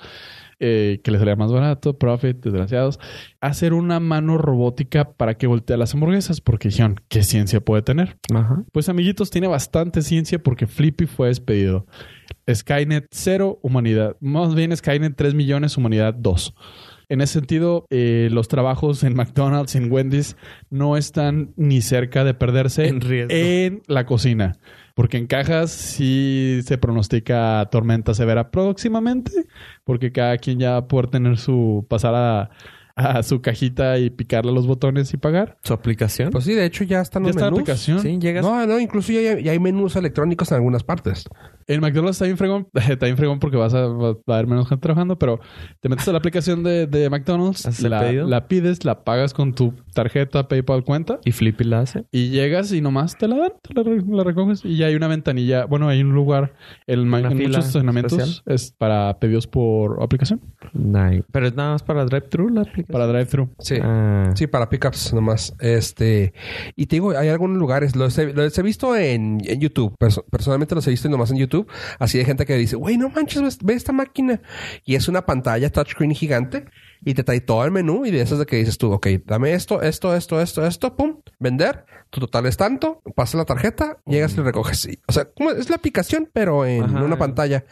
S3: eh, que les salía más barato, profit, desgraciados, hacer una mano robótica para que voltee las hamburguesas, porque dijeron, ¿qué ciencia puede tener?
S4: Ajá.
S3: Pues amiguitos, tiene bastante ciencia porque Flippy fue despedido. Skynet 0, humanidad. Más bien Skynet 3 millones, humanidad 2. En ese sentido, eh, los trabajos en McDonald's, en Wendy's, no están ni cerca de perderse
S4: En riesgo.
S3: en la cocina. Porque en cajas sí se pronostica tormenta severa próximamente, porque cada quien ya va a poder tener su pasar a, a su cajita y picarle los botones y pagar.
S4: ¿Su aplicación?
S2: Pues sí, de hecho ya están
S3: Ya
S2: los
S3: está la
S2: menús.
S3: aplicación.
S4: sí, llegas.
S2: No, no, incluso ya, ya hay menús electrónicos en algunas partes.
S3: En McDonald's está bien fregón, está bien fregón porque vas a, va a haber menos gente trabajando, pero te metes a la aplicación de, de McDonald's,
S4: ¿Haces el
S3: la,
S4: pedido?
S3: la pides, la pagas con tu tarjeta, PayPal, cuenta,
S4: ¿Y Flippy la hace?
S3: y llegas y nomás te la dan, te la, re- la recoges y ya hay una ventanilla, bueno, hay un lugar en, ma-
S4: Una
S3: en
S4: fila
S3: muchos estacionamientos
S4: especial.
S3: es para pedidos por aplicación,
S4: Nice. Pero es nada más para drive-thru la aplicación.
S3: para drive-thru.
S2: Sí.
S4: Ah.
S2: Sí, para pickups nomás. Este, y te digo, hay algunos lugares, los he, los he visto en, en YouTube, Perso- personalmente los he visto nomás en YouTube, así de gente que dice, güey, no manches, ves- ve esta máquina. Y es una pantalla touchscreen gigante y te trae todo el menú y de esas de que dices tú, ok, dame esto, esto, esto, esto, esto, pum, vender, tu total es tanto, pasa la tarjeta, llegas y lo recoges. Y- O sea, como es la aplicación, pero en
S4: Ajá.
S2: una pantalla.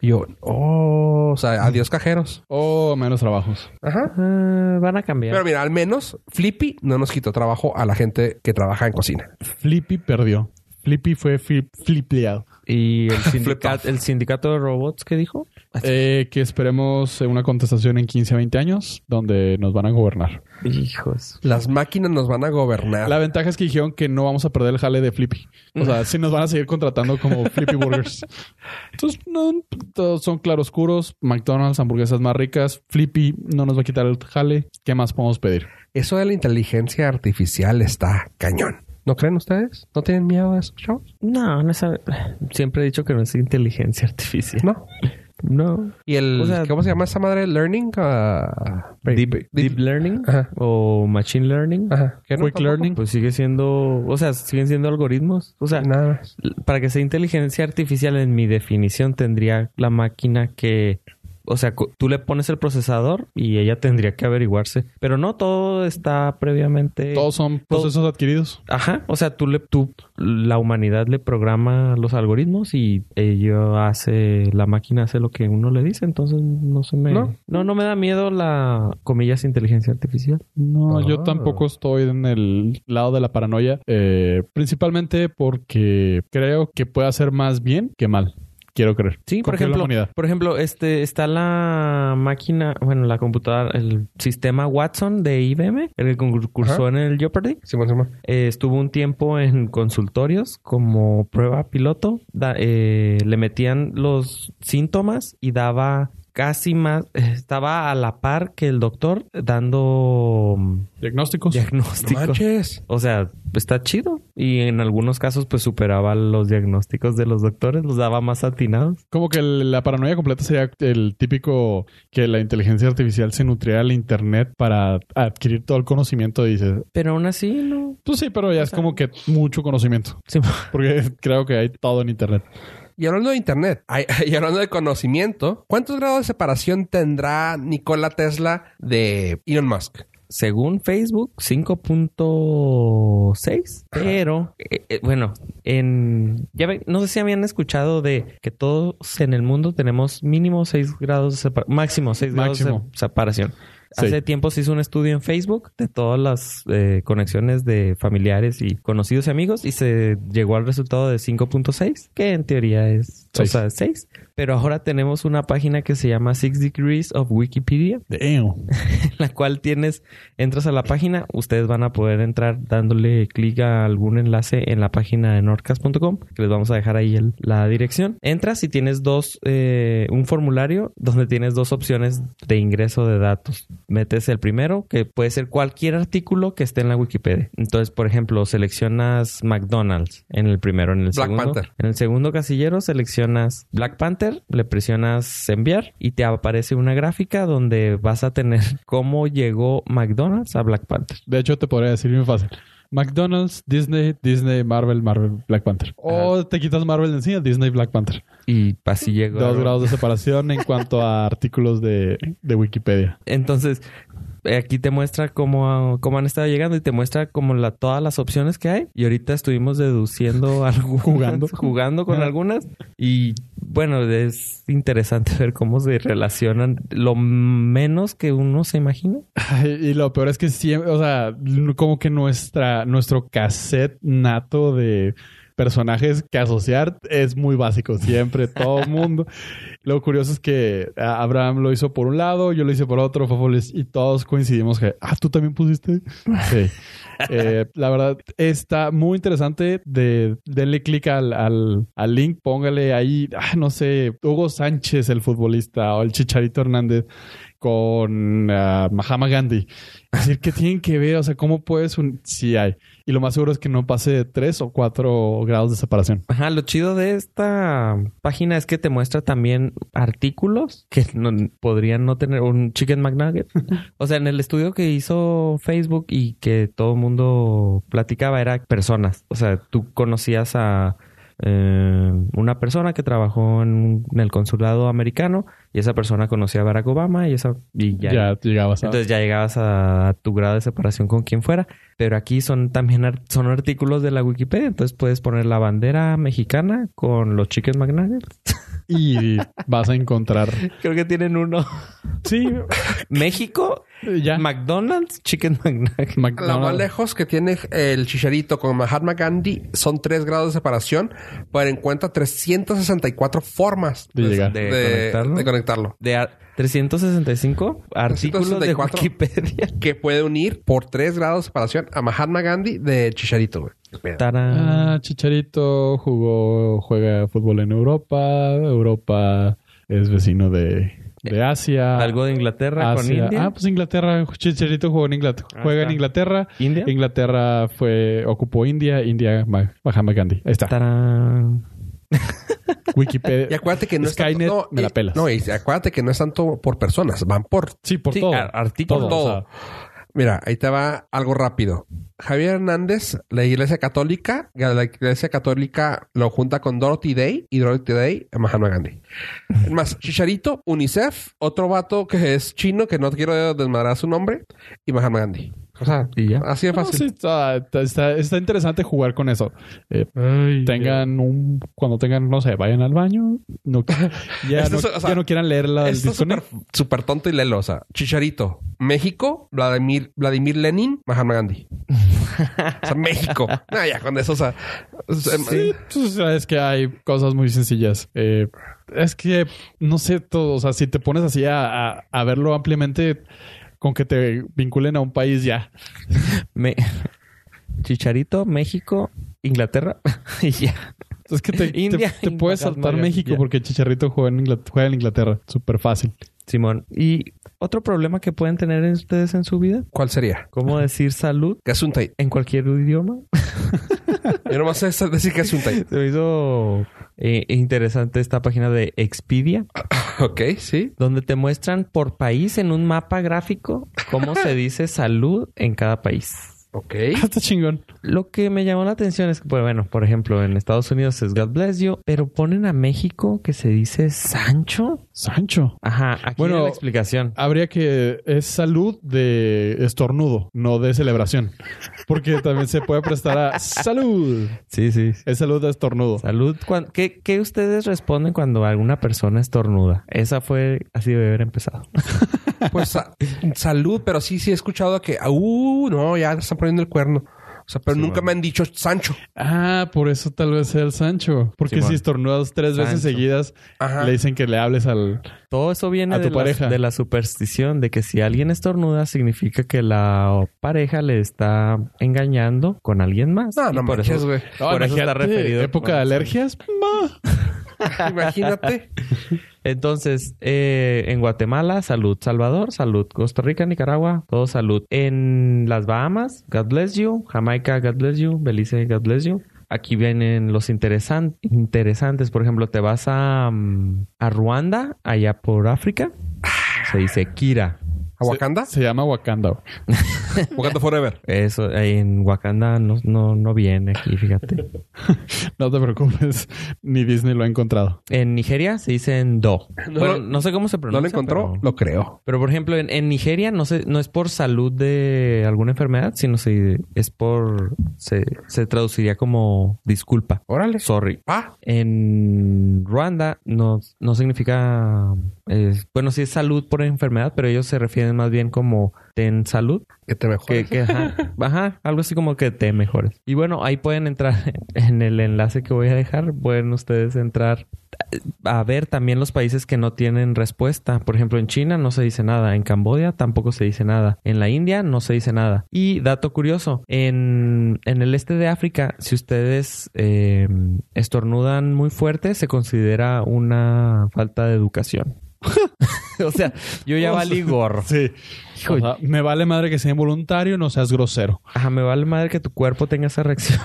S2: Y yo, oh, o sea, adiós cajeros.
S3: O Oh, menos trabajos.
S2: Ajá.
S4: Ah, van a cambiar.
S2: Pero mira, al menos Flippy no nos quitó trabajo a la gente que trabaja en cocina.
S3: Flippy perdió. Flippy fue fli- flipeado.
S4: ¿Y el,
S2: Flip off.
S4: sindicato, el sindicato de robots qué dijo?
S3: Eh, que esperemos eh, una contestación en 15 a 20 años donde nos van a gobernar.
S4: Hijos.
S2: Las máquinas nos van a gobernar.
S3: La ventaja es que dijeron que no vamos a perder el jale de Flippy. O sea, sí nos van a seguir contratando como Flippy Burgers. Entonces, no, todos son claroscuros. McDonald's, hamburguesas más ricas. Flippy no nos va a quitar el jale. ¿Qué más podemos pedir?
S2: Eso de la inteligencia artificial está cañón. ¿No creen ustedes? ¿No tienen miedo a esos chavos?
S4: No, no sabe. Siempre he dicho que no es inteligencia artificial.
S2: No.
S4: No.
S2: Y el,
S4: O sea-
S2: ¿cómo se llama esa madre? Learning. Ah,
S4: Deep,
S2: deep-
S4: deep learning
S2: Ajá.
S4: o machine learning.
S2: Ajá. ¿Qué no?
S3: Quick
S2: Tampoco.
S3: Learning.
S4: Pues sigue siendo, o sea, siguen siendo algoritmos. O sea,
S2: Nada más.
S4: para que sea inteligencia artificial, en mi definición, tendría la máquina que. O sea, cu- tú le pones el procesador y ella tendría que averiguarse. Pero no todo está previamente.
S3: Todos son procesos adquiridos.
S4: Ajá. O sea, tú le, tú, la humanidad le programa los algoritmos y ello hace, la máquina hace lo que uno le dice. Entonces no se me.
S2: No.
S4: No, no, me da miedo la, comillas, inteligencia artificial.
S3: No,
S2: Ah.
S3: yo tampoco estoy en el lado de la paranoia. eh, principalmente porque creo que puede hacer más bien que mal. Quiero creer.
S4: Sí, por
S3: Confío en la
S4: ejemplo,
S3: humanidad.
S4: por ejemplo, este está la máquina, bueno, la computadora, el sistema Watson de IBM, el que concursó en el Jeopardy.
S2: Simón, Simón.
S4: Eh, estuvo un tiempo en consultorios como prueba piloto. Da- eh, le metían los síntomas y daba casi más, estaba a la par que el doctor dando mm,
S3: Diagnósticos.
S2: No
S4: diagnósticos.
S2: manches.
S4: O sea, está chido. Y en algunos casos, pues superaba los diagnósticos de los doctores, los daba más atinados.
S3: Como que el- la paranoia completa sería el típico que la inteligencia artificial se nutriera al internet para adquirir todo el conocimiento. Dices,
S4: Pero aún así, no.
S3: pues sí, pero ya es como que mucho conocimiento.
S4: Sí.
S3: Porque creo que hay todo en internet.
S2: Y hablando de internet, ay, y hablando de conocimiento, ¿cuántos grados de separación tendrá Nikola Tesla de Elon Musk?
S4: Según Facebook, 5.6. Pero, eh, eh, bueno, en. Ya ve- no sé si habían escuchado de que todos en el mundo tenemos mínimo 6 grados de separación. Máximo 6 grados de
S3: Máximo.
S4: se- separación.
S3: Sí.
S4: Hace tiempo se hizo un estudio en Facebook de todas las eh, conexiones de familiares y conocidos y amigos y se llegó al resultado de 5.6, que en teoría es o
S3: Seis.
S4: sea, 6. Pero ahora tenemos una página que se llama Six Degrees of Wikipedia
S3: Damn.
S4: la cual tienes, entras a la página, ustedes van a poder entrar dándole clic a algún enlace en la página de nordcast.com, que les vamos a dejar ahí el- la dirección. Entras y tienes dos, eh, un formulario donde tienes dos opciones de ingreso de datos. Metes el primero, que puede ser cualquier artículo que esté en la Wikipedia. Entonces, por ejemplo, seleccionas McDonald's en el primero, en el
S2: Black
S4: segundo.
S2: Panther.
S4: En el segundo casillero seleccionas Black Panther, le presionas enviar y te aparece una gráfica donde vas a tener cómo llegó McDonald's a Black Panther.
S3: De hecho, te podría decir bien fácil. McDonald's, Disney, Disney, Marvel, Marvel, Black Panther. O te quitas Marvel de encima, Disney, Black Panther.
S4: Y así llegó.
S3: Dos grados de separación en cuanto a artículos de, de Wikipedia.
S4: Entonces, eh, aquí te muestra cómo, cómo han estado llegando y te muestra como la, todas las opciones que hay. Y ahorita estuvimos deduciendo algunas,
S3: Jugando.
S4: jugando con algunas. Y bueno, es interesante ver cómo se relacionan lo menos que uno se imagina.
S3: Ay, y lo peor es que siempre, o sea, n- como que nuestra, nuestro cassette nato de personajes que asociar es muy básico, siempre, todo el mundo. Lo curioso es que a- Abraham lo hizo por un lado, yo lo hice por otro, Fafo lo hizo- y todos coincidimos que, ah, tú también pusiste. Sí. Eh, la verdad, está muy interesante. De, denle clic al, al, al link, póngale ahí, ah, no sé, Hugo Sánchez, el futbolista, o el Chicharito Hernández con ah, Mahama Gandhi. Es decir, ¿qué tienen que ver? O sea, ¿cómo puedes un... Sí hay. Y lo más seguro es que no pase de tres o cuatro grados de separación.
S4: Ajá, lo chido de esta página es que te muestra también artículos que no- podrían no tener un Chicken McNugget. o sea, en el estudio que hizo Facebook y que todo el mundo platicaba era personas. O sea, tú conocías a eh, una persona que trabajó en, en el consulado americano y esa persona conocía a Barack Obama y esa y
S3: Ya,
S4: ya.
S3: llegabas a...
S4: Entonces ya llegabas a, a tu grado de separación con quien fuera. Pero aquí son también ar- son artículos de la Wikipedia. Entonces puedes poner la bandera mexicana con los chicken McNuggets.
S3: Y vas a encontrar...
S4: Creo que tienen uno.
S3: Sí,
S4: México,
S3: ya.
S4: McDonald's, chicken McNuggets.
S2: Lo más
S3: McDonald's.
S2: lejos que tiene eh, el chicharito con Mahatma Gandhi son 3 grados de separación, pero encuentra 364 formas pues,
S3: De llegar.
S2: de,
S4: De conectarlo.
S2: de conectarlo,
S4: De ar- 365 artículos
S2: 364.
S4: de Wikipedia.
S2: Que puede unir por 3 grados de separación a Mahatma Gandhi de chicharito, güey.
S4: Tarán.
S3: Ah, Chicharito jugó, juega fútbol en Europa. Europa es vecino de, de Asia.
S4: Algo de Inglaterra con
S3: Ah. Asia.
S4: India.
S3: Ah, pues Inglaterra. Chicharito jugó en Inglaterra.
S4: Ah,
S3: Juega en
S4: está.
S3: Inglaterra.
S4: India.
S3: Inglaterra fue ocupó India, India Ma- Mahatma Gandhi. Ahí está.
S4: Tarán.
S2: Y
S3: Wikipedia.
S2: acuérdate que no
S3: Skynet,
S2: es tanto, no,
S3: me la
S2: y-
S3: pelas.
S2: No, y acuérdate que no es tanto por personas, van por
S3: Sí, por
S4: Sí,
S3: todo.
S4: ar- artículo.
S3: Todo, o
S2: todo.
S3: sea,
S2: Mira, ahí te va algo rápido. Javier Hernández, la Iglesia Católica, la Iglesia Católica lo junta con Dorothy Day y Dorothy Day a Mahatma Gandhi. Es más, Chicharito, UNICEF, otro vato que es chino, que no quiero desmadrar su nombre, y Mahatma Gandhi. O sea,
S4: Y ya.
S2: así de
S3: no, sí,
S2: fácil.
S3: está, está- está interesante jugar con eso. Eh, tengan un cuando tengan no sé vayan al baño no ya,
S2: Esto
S3: no,
S2: es, o sea,
S3: ya no quieran leerla el
S2: Esto es súper
S3: disconnect.
S2: súper tonto y lelo. O sea, Chicharito, México, Vladimir, Vladimir Lenin, Mahatma Gandhi. O sea, México. No, ya con eso, o sea. o sea,
S3: Sí, pues, es que hay cosas muy sencillas. Eh, es que, no sé, todo, o sea, si te pones así a, a- a verlo ampliamente, con que te vinculen a un país ya.
S4: Me- Chicharito, México, Inglaterra y ya.
S3: Es que te, te-
S4: India,
S3: te puedes
S4: Inglaterra,
S3: saltar México
S4: ya.
S3: porque Chicharrito juega en, Ingla- juega en Inglaterra. Súper fácil.
S4: Simón. ¿Y otro problema que pueden tener ustedes en su vida?
S2: ¿Cuál sería?
S4: ¿Cómo decir salud
S2: ¿Qué es un tai?
S4: en cualquier idioma?
S2: Yo nomás sé decir que es un tai.
S4: Se me hizo eh, interesante esta página de Expedia,
S2: Ok, sí.
S4: donde te muestran por país en un mapa gráfico cómo se dice salud en cada país.
S2: Ok.
S3: Ah, Está chingón.
S4: Lo que me llamó la atención es que, pues, bueno, por ejemplo, en Estados Unidos es God bless you, pero ponen a México que se dice Sancho.
S3: Sancho.
S4: Ajá, aquí
S3: Bueno,
S4: bueno, la explicación.
S3: Habría que... Es salud de estornudo, no de celebración. Porque también se puede prestar a salud.
S4: Sí, sí.
S3: Es salud de estornudo.
S4: Salud. cuan- ¿Qué, qué ustedes responden cuando alguna persona estornuda? Esa fue así de haber empezado.
S2: Pues sa- salud, pero sí, sí he escuchado que. Uh, no, ya están poniendo el cuerno. O sea, pero nunca me han dicho Sancho.
S3: Ah, por eso tal vez sea el Sancho. Porque
S4: Simón.
S3: si estornudas tres veces
S4: Sancho.
S3: seguidas,
S2: Ajá.
S3: le dicen que le hables al...
S4: Todo eso viene
S3: A
S4: de,
S3: tu
S4: las-
S3: pareja.
S4: de la superstición de que si alguien estornuda significa que la pareja le está engañando con alguien más.
S2: No,
S4: Y
S2: no
S4: por
S2: manches,
S4: eso,
S2: güey.
S4: por eso está
S3: Imagínate,
S4: referido.
S3: ¿Época
S4: con-
S3: de alergias? Ma.
S2: Imagínate.
S4: Entonces, eh, en Guatemala, salud Salvador, salud Costa Rica, Nicaragua, todo salud. En las Bahamas, God bless you. Jamaica, God bless you. Belice, God bless you. Aquí vienen los interesan- interesantes. Por ejemplo, te vas a, mm, a Ruanda, allá por África. Se dice Kira.
S2: ¿A Wakanda?
S3: Se llama Wakanda. güey.
S2: Wakanda Forever.
S4: Eso, ahí en Wakanda no, no, no viene aquí, fíjate.
S3: No te preocupes. Ni Disney lo ha encontrado.
S4: En Nigeria se dicen Do.
S2: No
S4: bueno,
S2: lo-
S4: no sé cómo se
S2: ¿No
S4: pronuncia.
S2: lo encontró?
S4: Pero,
S2: Lo creo.
S4: pero, por ejemplo, en, en Nigeria no se, no es por salud de alguna enfermedad, sino se, es por... Se, se traduciría como disculpa.
S2: Órale.
S4: Sorry.
S2: Ah,
S4: En Ruanda no, no significa... eh, bueno, sí es salud por enfermedad, pero ellos se refieren más bien como ten salud.
S2: que te mejor.
S4: Que, que, ajá, ajá, algo así como que te mejores. Y bueno, ahí pueden entrar en el enlace que voy a dejar. Pueden ustedes entrar a ver también los países que no tienen respuesta. Por ejemplo, en China no se dice nada. En Camboya tampoco se dice nada. En la India no se dice nada. Y dato curioso, en, en el este de África, si ustedes eh, estornudan muy fuerte, se considera una falta de educación. o sea, yo ya valí gorro.
S3: Sí. O sea, me vale madre que sea involuntario, no seas grosero.
S4: Ajá, me vale madre que tu cuerpo tenga esa reacción.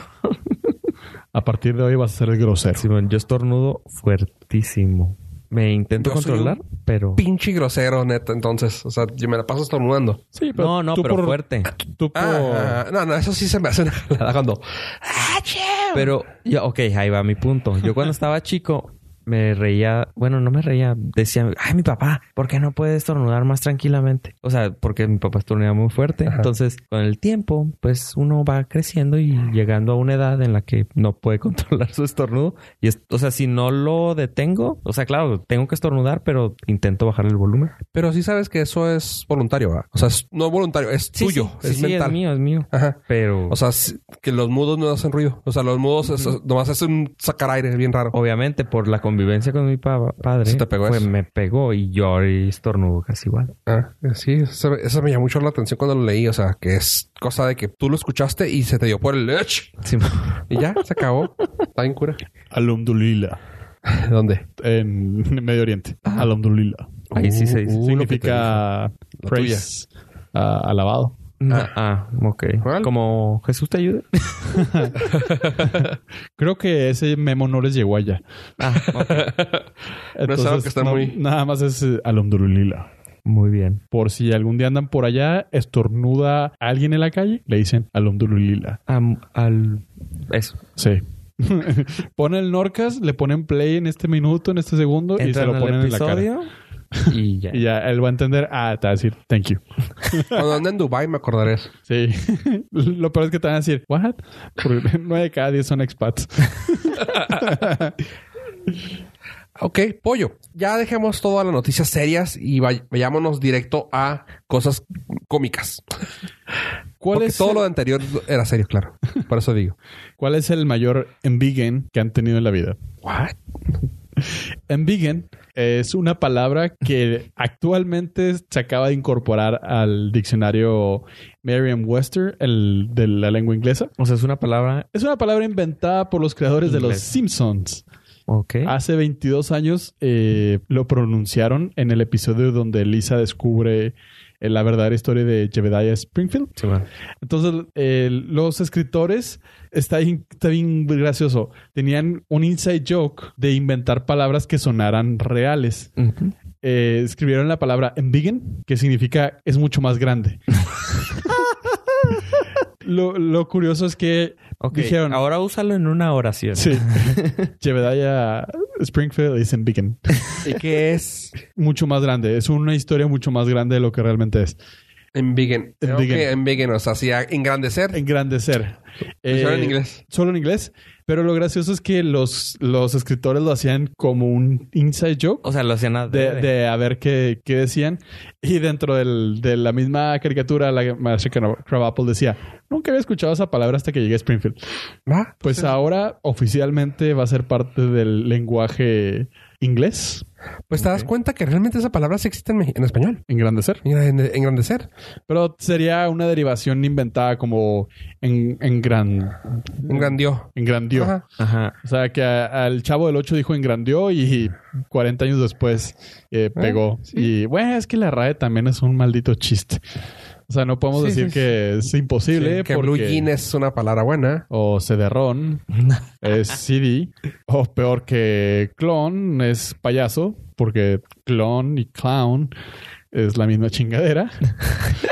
S3: A partir de hoy vas a ser el grosero.
S4: Simón, yo estornudo fuertísimo. Me intento
S2: Yo soy
S4: controlar, pero...
S2: Pinche grosero, neta. Entonces, o sea, yo me la paso estornudando.
S3: Sí,
S4: No, no,
S3: tú
S4: pero
S3: por-
S4: fuerte.
S3: Tú por...
S2: Ah, ah, no, no, eso sí se me hace una jalada cuando. "Ah,
S4: Pero, yo, ok, ahí va mi punto. Yo cuando estaba chico me reía, bueno, no me reía, decía, ay, mi papá, ¿por qué no puede estornudar más tranquilamente? O sea, porque mi papá estornudaba muy fuerte. Entonces, con el tiempo, pues uno va creciendo y llegando a una edad en la que no puede controlar su estornudo. Y, es- o sea, si no lo detengo, o sea, claro, tengo que estornudar, pero intento bajar el volumen.
S2: Pero sí sabes que eso es voluntario, ¿verdad? O sea, es- no voluntario, es
S4: Sí,
S2: tuyo,
S4: sí,
S2: es
S4: sí,
S2: mental.
S4: es mío, es mío.
S2: Ajá.
S4: Pero
S2: O sea, sí- que los mudos no hacen ruido. O sea, los mudos es- nomás hacen sacar aire, es bien raro.
S4: obviamente por la convivencia con mi pa- padre,
S2: Se te pegó
S4: fue-
S2: eso.
S4: me pegó y yo ahí estornudo casi igual.
S2: Ah, sí, eso, eso me llamó mucho la atención cuando lo leí. O sea, que es cosa de que tú lo escuchaste y se te dio por el lech.
S4: Sí.
S3: Ah.
S2: Y ya, se acabó. Está bien cura.
S3: Alhamdulillah.
S2: ¿Dónde?
S3: En Medio Oriente.
S4: Ah.
S3: Alhamdulillah.
S4: Ahí sí se dice.
S2: Uh, lo que te
S3: Significa
S2: La
S3: praise. ah, alabado.
S4: Ah, ah, ok.
S2: ¿Cuál?
S4: Como Jesús te ayude.
S3: Creo que ese memo no les llegó allá.
S4: Ah, ok.
S2: No es algo que está muy-
S3: Nada más es eh, alhamdulillah.
S4: Muy bien.
S3: Por si algún día andan por allá, estornuda a alguien en la calle, le dicen alhamdulillah.
S4: Am- al... Eso.
S3: Sí. Pone el Norcas, le ponen play en este minuto, en este segundo y se
S4: Entran
S3: lo
S4: al
S3: ponen en la cara.
S4: episodio y ya.
S3: Y ya él va a entender, ah, te va a decir thank you.
S2: Cuando ande en Dubai me acordaré eso.
S3: Sí. lo peor es que te van a decir, what? Porque nueve de cada diez son expats.
S2: Ok, pollo. Ya dejemos todas las noticias serias y vay- vayámonos directo a cosas cómicas.
S3: ¿Cuál
S2: Porque
S3: es,
S2: todo
S3: el,
S2: lo anterior era serio, claro. Por eso digo.
S3: ¿Cuál es el mayor embiggen que han tenido en la vida?
S2: What?
S3: Embiggen es una palabra que actualmente se acaba de incorporar al diccionario Merriam-Webster, el de la lengua inglesa.
S4: O sea, es una palabra.
S3: Es una palabra inventada por los creadores de los
S4: Inglés.
S3: Simpsons.
S4: Ok.
S3: Hace 22 años eh, lo pronunciaron en el episodio donde Lisa descubre eh, la verdadera historia de Jebediah Springfield.
S4: Sí, bueno.
S3: Entonces, eh, los escritores, está bien, está bien gracioso, tenían un inside joke de inventar palabras que sonaran reales.
S6: Ujú.
S3: Eh, escribieron la palabra embiggen, que significa es mucho más grande. lo, lo curioso es que
S4: Ok,
S3: dijeron...
S4: Ahora úsalo en una oración.
S3: Sí. Jebediah Springfield es embiggen.
S2: ¿Y qué es?
S3: Mucho más grande. Es una historia mucho más grande de lo que realmente es.
S2: Embiggen. Creo
S3: Embiggen.
S2: que embiggen nos hacía engrandecer.
S3: Engrandecer. Eh,
S2: Pues Solo en inglés.
S3: Solo en inglés. Pero lo gracioso es que los, los escritores lo hacían como un inside joke
S4: O sea, lo hacían a
S3: de, de a ver qué, qué decían. Y dentro del- de la misma caricatura, la maestra Crab- Crabapple decía, nunca había escuchado esa palabra hasta que llegué a Springfield.
S2: ¿Va?
S3: Pues ahora oficialmente va a ser parte del lenguaje inglés.
S2: Pues te das cuenta que realmente esa palabra sí existe en, me- en español.
S3: Engrandecer.
S2: Engrande- Engrandecer.
S3: Pero sería una derivación inventada como en, en gran...
S2: Engrandió.
S3: Engrandió.
S2: Ajá.
S4: Ajá.
S3: O sea, que a- al chavo del 8 dijo engrandió y 40 años después eh,
S2: Ah,
S3: pegó. Y bueno, es que la RAE también es un maldito chiste. O sea, no podemos
S2: Sí,
S3: decir
S2: sí,
S3: que es imposible.
S2: que
S3: porque-
S2: blue jean es una palabra buena.
S3: O cederrón es CD. O peor que clon es payaso, porque clon y clown es la misma chingadera.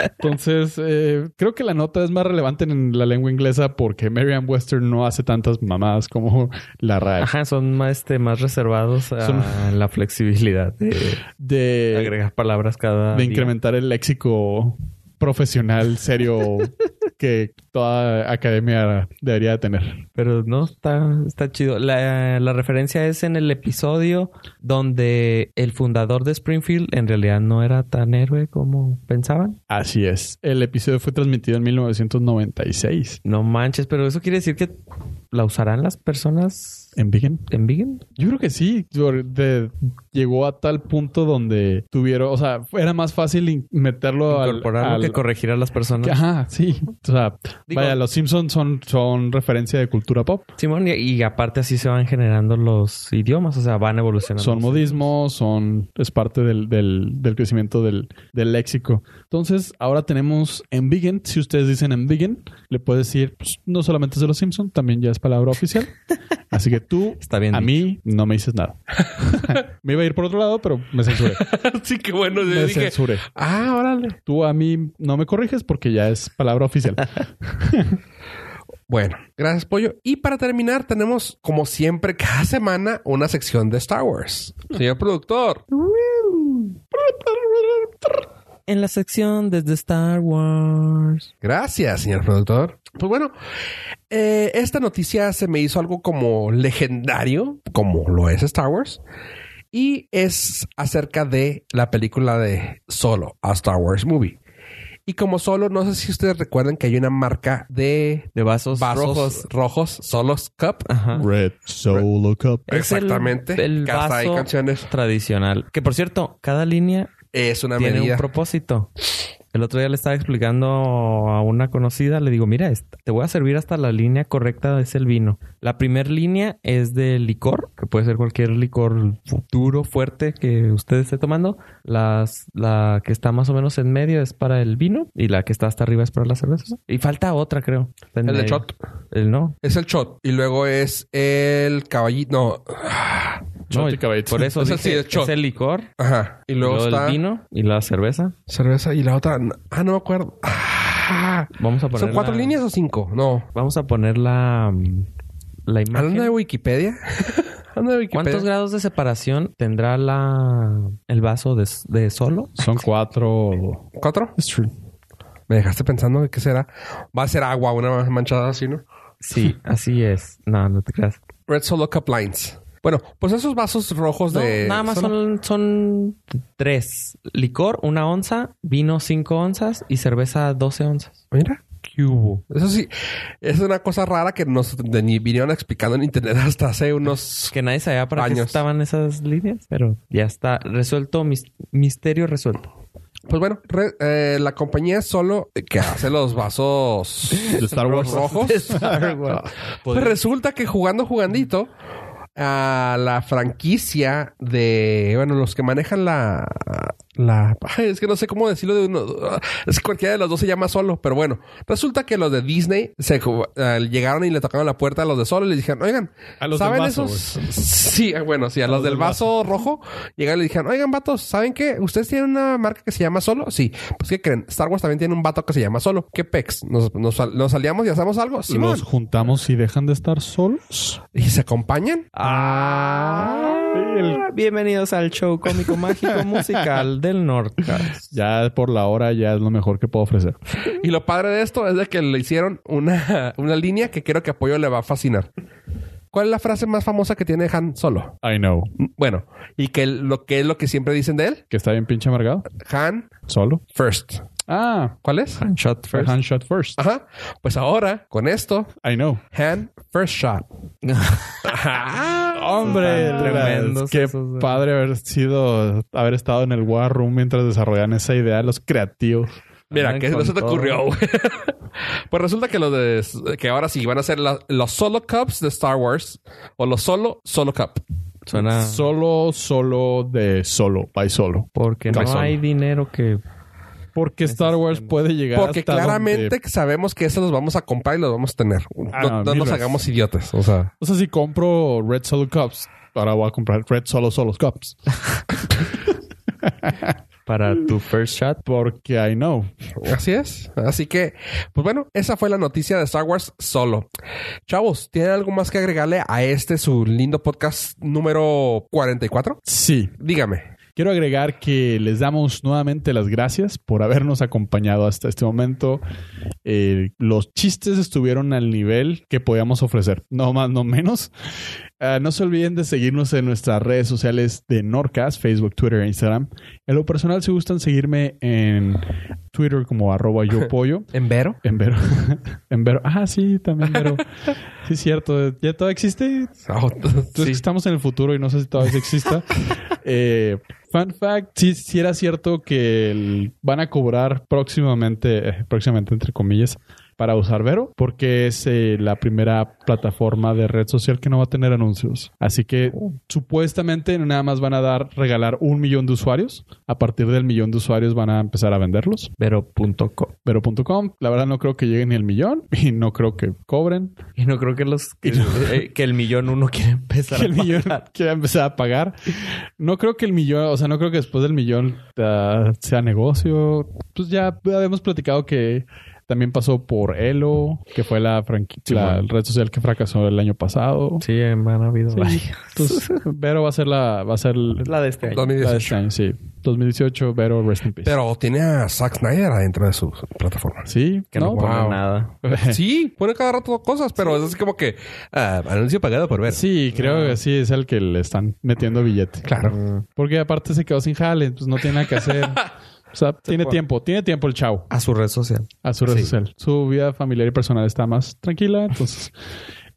S3: Entonces, eh, creo que la nota es más relevante en la lengua inglesa porque Merriam Western no hace tantas mamadas como la RAE.
S4: Ajá, son más, este, más reservados a la flexibilidad de
S3: de,
S4: agregar palabras cada.
S3: de
S4: día.
S3: incrementar el léxico profesional serio que toda academia debería de tener.
S4: Pero no, está, está chido. La, la referencia es en el episodio donde el fundador de Springfield en realidad no era tan héroe como pensaban.
S3: Así es. El episodio fue transmitido en 1996.
S4: No manches, pero eso quiere decir que la usarán las personas
S3: ¿En Vigen?
S4: en Vegan.
S3: Yo creo que sí. Yo- de- llegó a tal punto donde tuvieron, o sea, era más fácil in- meterlo al,
S4: Incorporar lo
S3: al-
S4: que corregir a las personas.
S3: que- Ajá, sí. O sea,
S4: Digo-
S3: vaya, los Simpsons son, son referencia de cultura pop.
S4: Simón, y, y aparte así se van generando los idiomas, o sea, van evolucionando.
S3: Son
S4: los
S3: modismos, son, es parte del, del- del crecimiento del, del léxico. Entonces, ahora tenemos en Vegan. Si ustedes dicen en Vegan, le puedes decir, pues, no solamente es de los Simpsons, también ya es palabra oficial. Así que tú,
S4: Está bien
S3: a
S4: dicho.
S3: mí, no me dices nada. me iba a ir por otro lado, pero me censuré.
S2: sí, que bueno. yo
S3: me
S2: dije,
S3: censuré.
S2: Ah, órale.
S3: Tú a mí no me corriges porque ya es palabra oficial.
S2: Bueno, gracias, Pollo. Y para terminar, tenemos, como siempre, cada semana, una sección de Star Wars. Señor productor.
S4: En la sección desde Star Wars.
S2: Gracias, señor productor. Pues bueno, eh, esta noticia se me hizo algo como legendario, como lo es Star Wars. Y es acerca de la película de Solo, a Star Wars Movie. Y como Solo, no sé si ustedes recuerdan que hay una marca de
S4: De vasos,
S2: vasos
S4: rojos.
S2: rojos, Solos Cup.
S4: Ajá.
S3: Red Solo Cup.
S4: Es el-
S2: Exactamente.
S4: el
S2: que hasta hay
S4: vaso-
S2: canciones.
S4: Tradicional. Que por cierto, cada línea
S2: Es una
S4: tiene
S2: medida.
S4: un propósito. El otro día le estaba explicando a una conocida, le digo, mira, esta- te voy a servir hasta la línea correcta, es el vino. La primera línea es de licor, que puede ser cualquier licor fu- duro, fuerte que usted esté tomando. Las, la que está más o menos en medio es para el vino y la que está hasta arriba es para la cerveza. Y falta otra, creo. Está en
S2: El de
S4: medio.
S2: shot.
S4: El no.
S2: Es el shot. Y luego es el caballito. No.
S4: no
S3: Shot y caballito.
S4: por eso
S2: Es
S4: dije,
S2: así, es shot.
S4: es el licor,
S2: Ajá. Y luego,
S4: luego
S2: está
S4: el vino y la cerveza.
S2: cerveza y la otra. Ah, no me acuerdo. Ah.
S4: Vamos a poner
S2: ¿Son cuatro
S4: la-
S2: líneas o cinco? No.
S4: Vamos a poner la, mm, la imagen.
S2: Hablando de Wikipedia. Hablando de Wikipedia.
S4: ¿Cuántos grados de separación tendrá la el vaso de, s- de solo?
S3: Son cuatro.
S2: ¿Cuatro?
S3: Es true.
S2: Me dejaste pensando de qué será. Va a ser agua, una manchada así, ¿no?
S4: Sí, así es. No, no te creas.
S2: Red Solo Cup Lines. Bueno, pues esos vasos rojos
S4: No,
S2: de.
S4: nada más
S2: Solo-
S4: son, son tres. Licor, una onza, vino, cinco onzas y cerveza, doce onzas.
S2: Mira. ¿Qué hubo? Eso sí, es una cosa rara que nos de- ni vinieron explicando en internet hasta hace unos...
S4: Que nadie sabía para qué
S2: Años.
S4: estaban esas líneas, pero ya está resuelto, mis- misterio resuelto.
S2: Pues bueno, re- eh, la compañía solo que hace los vasos
S3: De Star Wars.
S2: rojos. Pues
S4: Podría-
S2: resulta que jugando jugandito a la franquicia de bueno los que manejan la la ay, es que no sé cómo decirlo de uno es que cualquiera de los dos se llama solo pero bueno resulta que los de Disney se ju- eh, llegaron y le tocaron la puerta a los de solo y les dijeron oigan
S3: A los del
S2: saben
S3: vaso,
S2: esos sí eh, bueno sí a, los, del vaso rojo llegaron y le dijeron oigan vatos saben qué ustedes tienen una marca que se llama solo sí pues qué creen Star Wars también tiene un vato que se llama solo qué pex nos nos, nos aliamos y hacemos algo sí
S3: ¿Los juntamos y dejan de estar solos?
S2: y se acompañan
S3: El-
S4: Ah, Bienvenidos al show cómico mágico musical del norte.
S3: ya por la hora ya es lo mejor que puedo ofrecer.
S2: Y lo padre de esto es de que le hicieron una, una línea que creo que Apoyo le va a fascinar. ¿Cuál es la frase más famosa que tiene Han Solo?
S3: I know.
S2: Bueno, y que lo que es lo que siempre dicen de él,
S3: Que está bien pinche amargado.
S2: Han
S3: Solo.
S2: first.
S3: Ah.
S2: ¿Cuál es?
S4: Shot first.
S3: Hand shot first.
S2: Ajá. Pues ahora con esto,
S3: I know.
S2: Han first shot.
S3: Hombre,
S4: Están tremendos
S3: qué
S4: esos, eh.
S3: padre haber sido, haber estado en el War Room mientras desarrollaban esa idea los creativos.
S2: Mira,
S4: Andan
S2: que no
S4: con
S2: se te
S4: todo.
S2: ocurrió, güey. pues resulta que lo de que ahora sí van a ser la- los solo cups de Star Wars o los solo solo cup.
S4: Suena
S3: Solo, solo de solo, by solo.
S4: porque no
S3: Cabezón.
S4: hay dinero que
S3: Porque Star Wars puede llegar
S2: Porque
S3: hasta
S2: claramente
S3: donde-
S2: sabemos que esos los vamos a comprar y los vamos a tener.
S3: Ah, no,
S2: no no
S3: mil
S2: nos
S3: veces.
S2: hagamos idiotas. O sea,
S3: O sea, si compro Red Solo Cups, ahora voy a comprar Red Solo Solo Cups.
S4: para tu first shot.
S3: Porque I know.
S2: Así es. Así que, pues bueno, esa fue la noticia de Star Wars solo. Chavos, ¿tienen algo más que agregarle a este su lindo podcast número 44?
S3: Sí.
S2: Dígame.
S3: Quiero agregar que les damos nuevamente las gracias por habernos acompañado hasta este momento. Eh, los chistes estuvieron al nivel que podíamos ofrecer, no más, no menos. Ah, no se olviden de seguirnos en nuestras redes sociales de Norcas, Facebook, Twitter e Instagram. En lo personal, si gustan seguirme en Twitter como arroba yo pollo.
S2: ¿En Vero?
S3: En Vero. En Vero. Ah, sí, también Vero. Sí, es cierto. Ya todo existe.
S2: Oh,
S3: Entonces, estamos en el futuro y no sé si todavía exista. Eh, fun fact, sí, sí era cierto que el- van a cobrar próximamente, eh, próximamente entre comillas, para usar Vero, porque es eh, la primera plataforma de red social que no va a tener anuncios. Así que supuestamente nada más van a dar, regalar un millón de usuarios. A partir del millón de usuarios van a empezar a venderlos.
S4: Vero.com.
S3: Vero.com, la verdad no creo que lleguen ni el millón y no creo que cobren.
S4: Y no creo que los que, eh, que el millón uno quiere empezar.
S3: que el
S4: a pagar.
S3: millón quiera empezar a pagar. No creo que el millón, o sea, no creo que después del millón ah, sea negocio. Pues ya habíamos platicado que también pasó por Elo, que fue la, franqui- la red social que fracasó el año pasado.
S4: Sí, eh, me han habido varios.
S3: Entonces, pues, Vero va a ser la, va a ser la,
S4: La de este año.
S3: la de este
S2: 2018.
S3: año, sí. 2018, Vero, rest in peace.
S2: Pero tiene a Zack Snyder adentro de su plataforma.
S3: sí,
S4: Que no, pone
S2: wow.
S4: nada.
S2: Sí, pone cada rato cosas, pero es como que ah, anuncio pagado por ver.
S3: Sí, creo que sí es el que le están metiendo billete.
S2: Claro.
S3: Porque aparte se quedó sin jale, pues no tiene nada que hacer. O sea, tiene tiempo, tiene tiempo el chavo
S4: A su red social.
S3: a su red social. Su vida familiar y personal está más tranquila, entonces...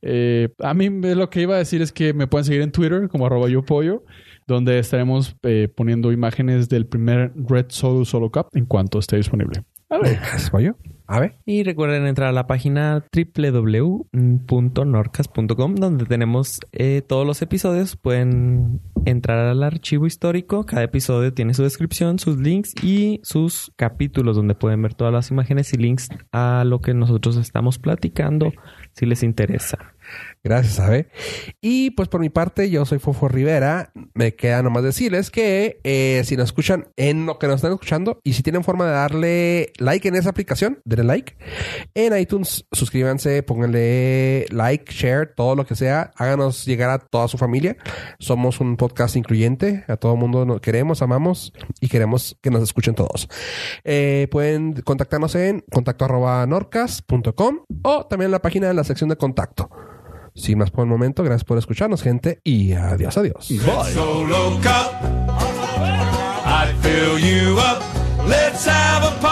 S3: eh, a mí me- lo que iba a decir es que me pueden seguir en Twitter como arroba yo pollo, donde estaremos eh, poniendo imágenes del primer Red Solo Solo Cup en cuanto esté disponible.
S2: A ver. ¿Pollo? A ver.
S4: Y recuerden entrar a la página www.norcas.com donde tenemos eh, todos los episodios. Pueden entrar al archivo histórico. Cada episodio tiene su descripción, sus links y sus capítulos donde pueden ver todas las imágenes y links a lo que nosotros estamos platicando si les interesa.
S2: Gracias, Abe. Y pues por mi parte, yo soy Fofo Rivera. Me queda nomás decirles que eh, si nos escuchan en lo que nos están escuchando y si tienen forma de darle like en esa aplicación, denle like. En iTunes, suscríbanse, pónganle like, share, todo lo que sea. Háganos llegar a toda su familia. Somos un podcast incluyente. A todo mundo nos queremos, amamos y queremos que nos escuchen todos. Eh, pueden contactarnos en contacto arroba norcas.com o también en la página de la sección de contacto. Sin más por el momento, gracias por escucharnos, gente, y adiós, adiós.
S7: Solo cup. I fill you up. Let's have a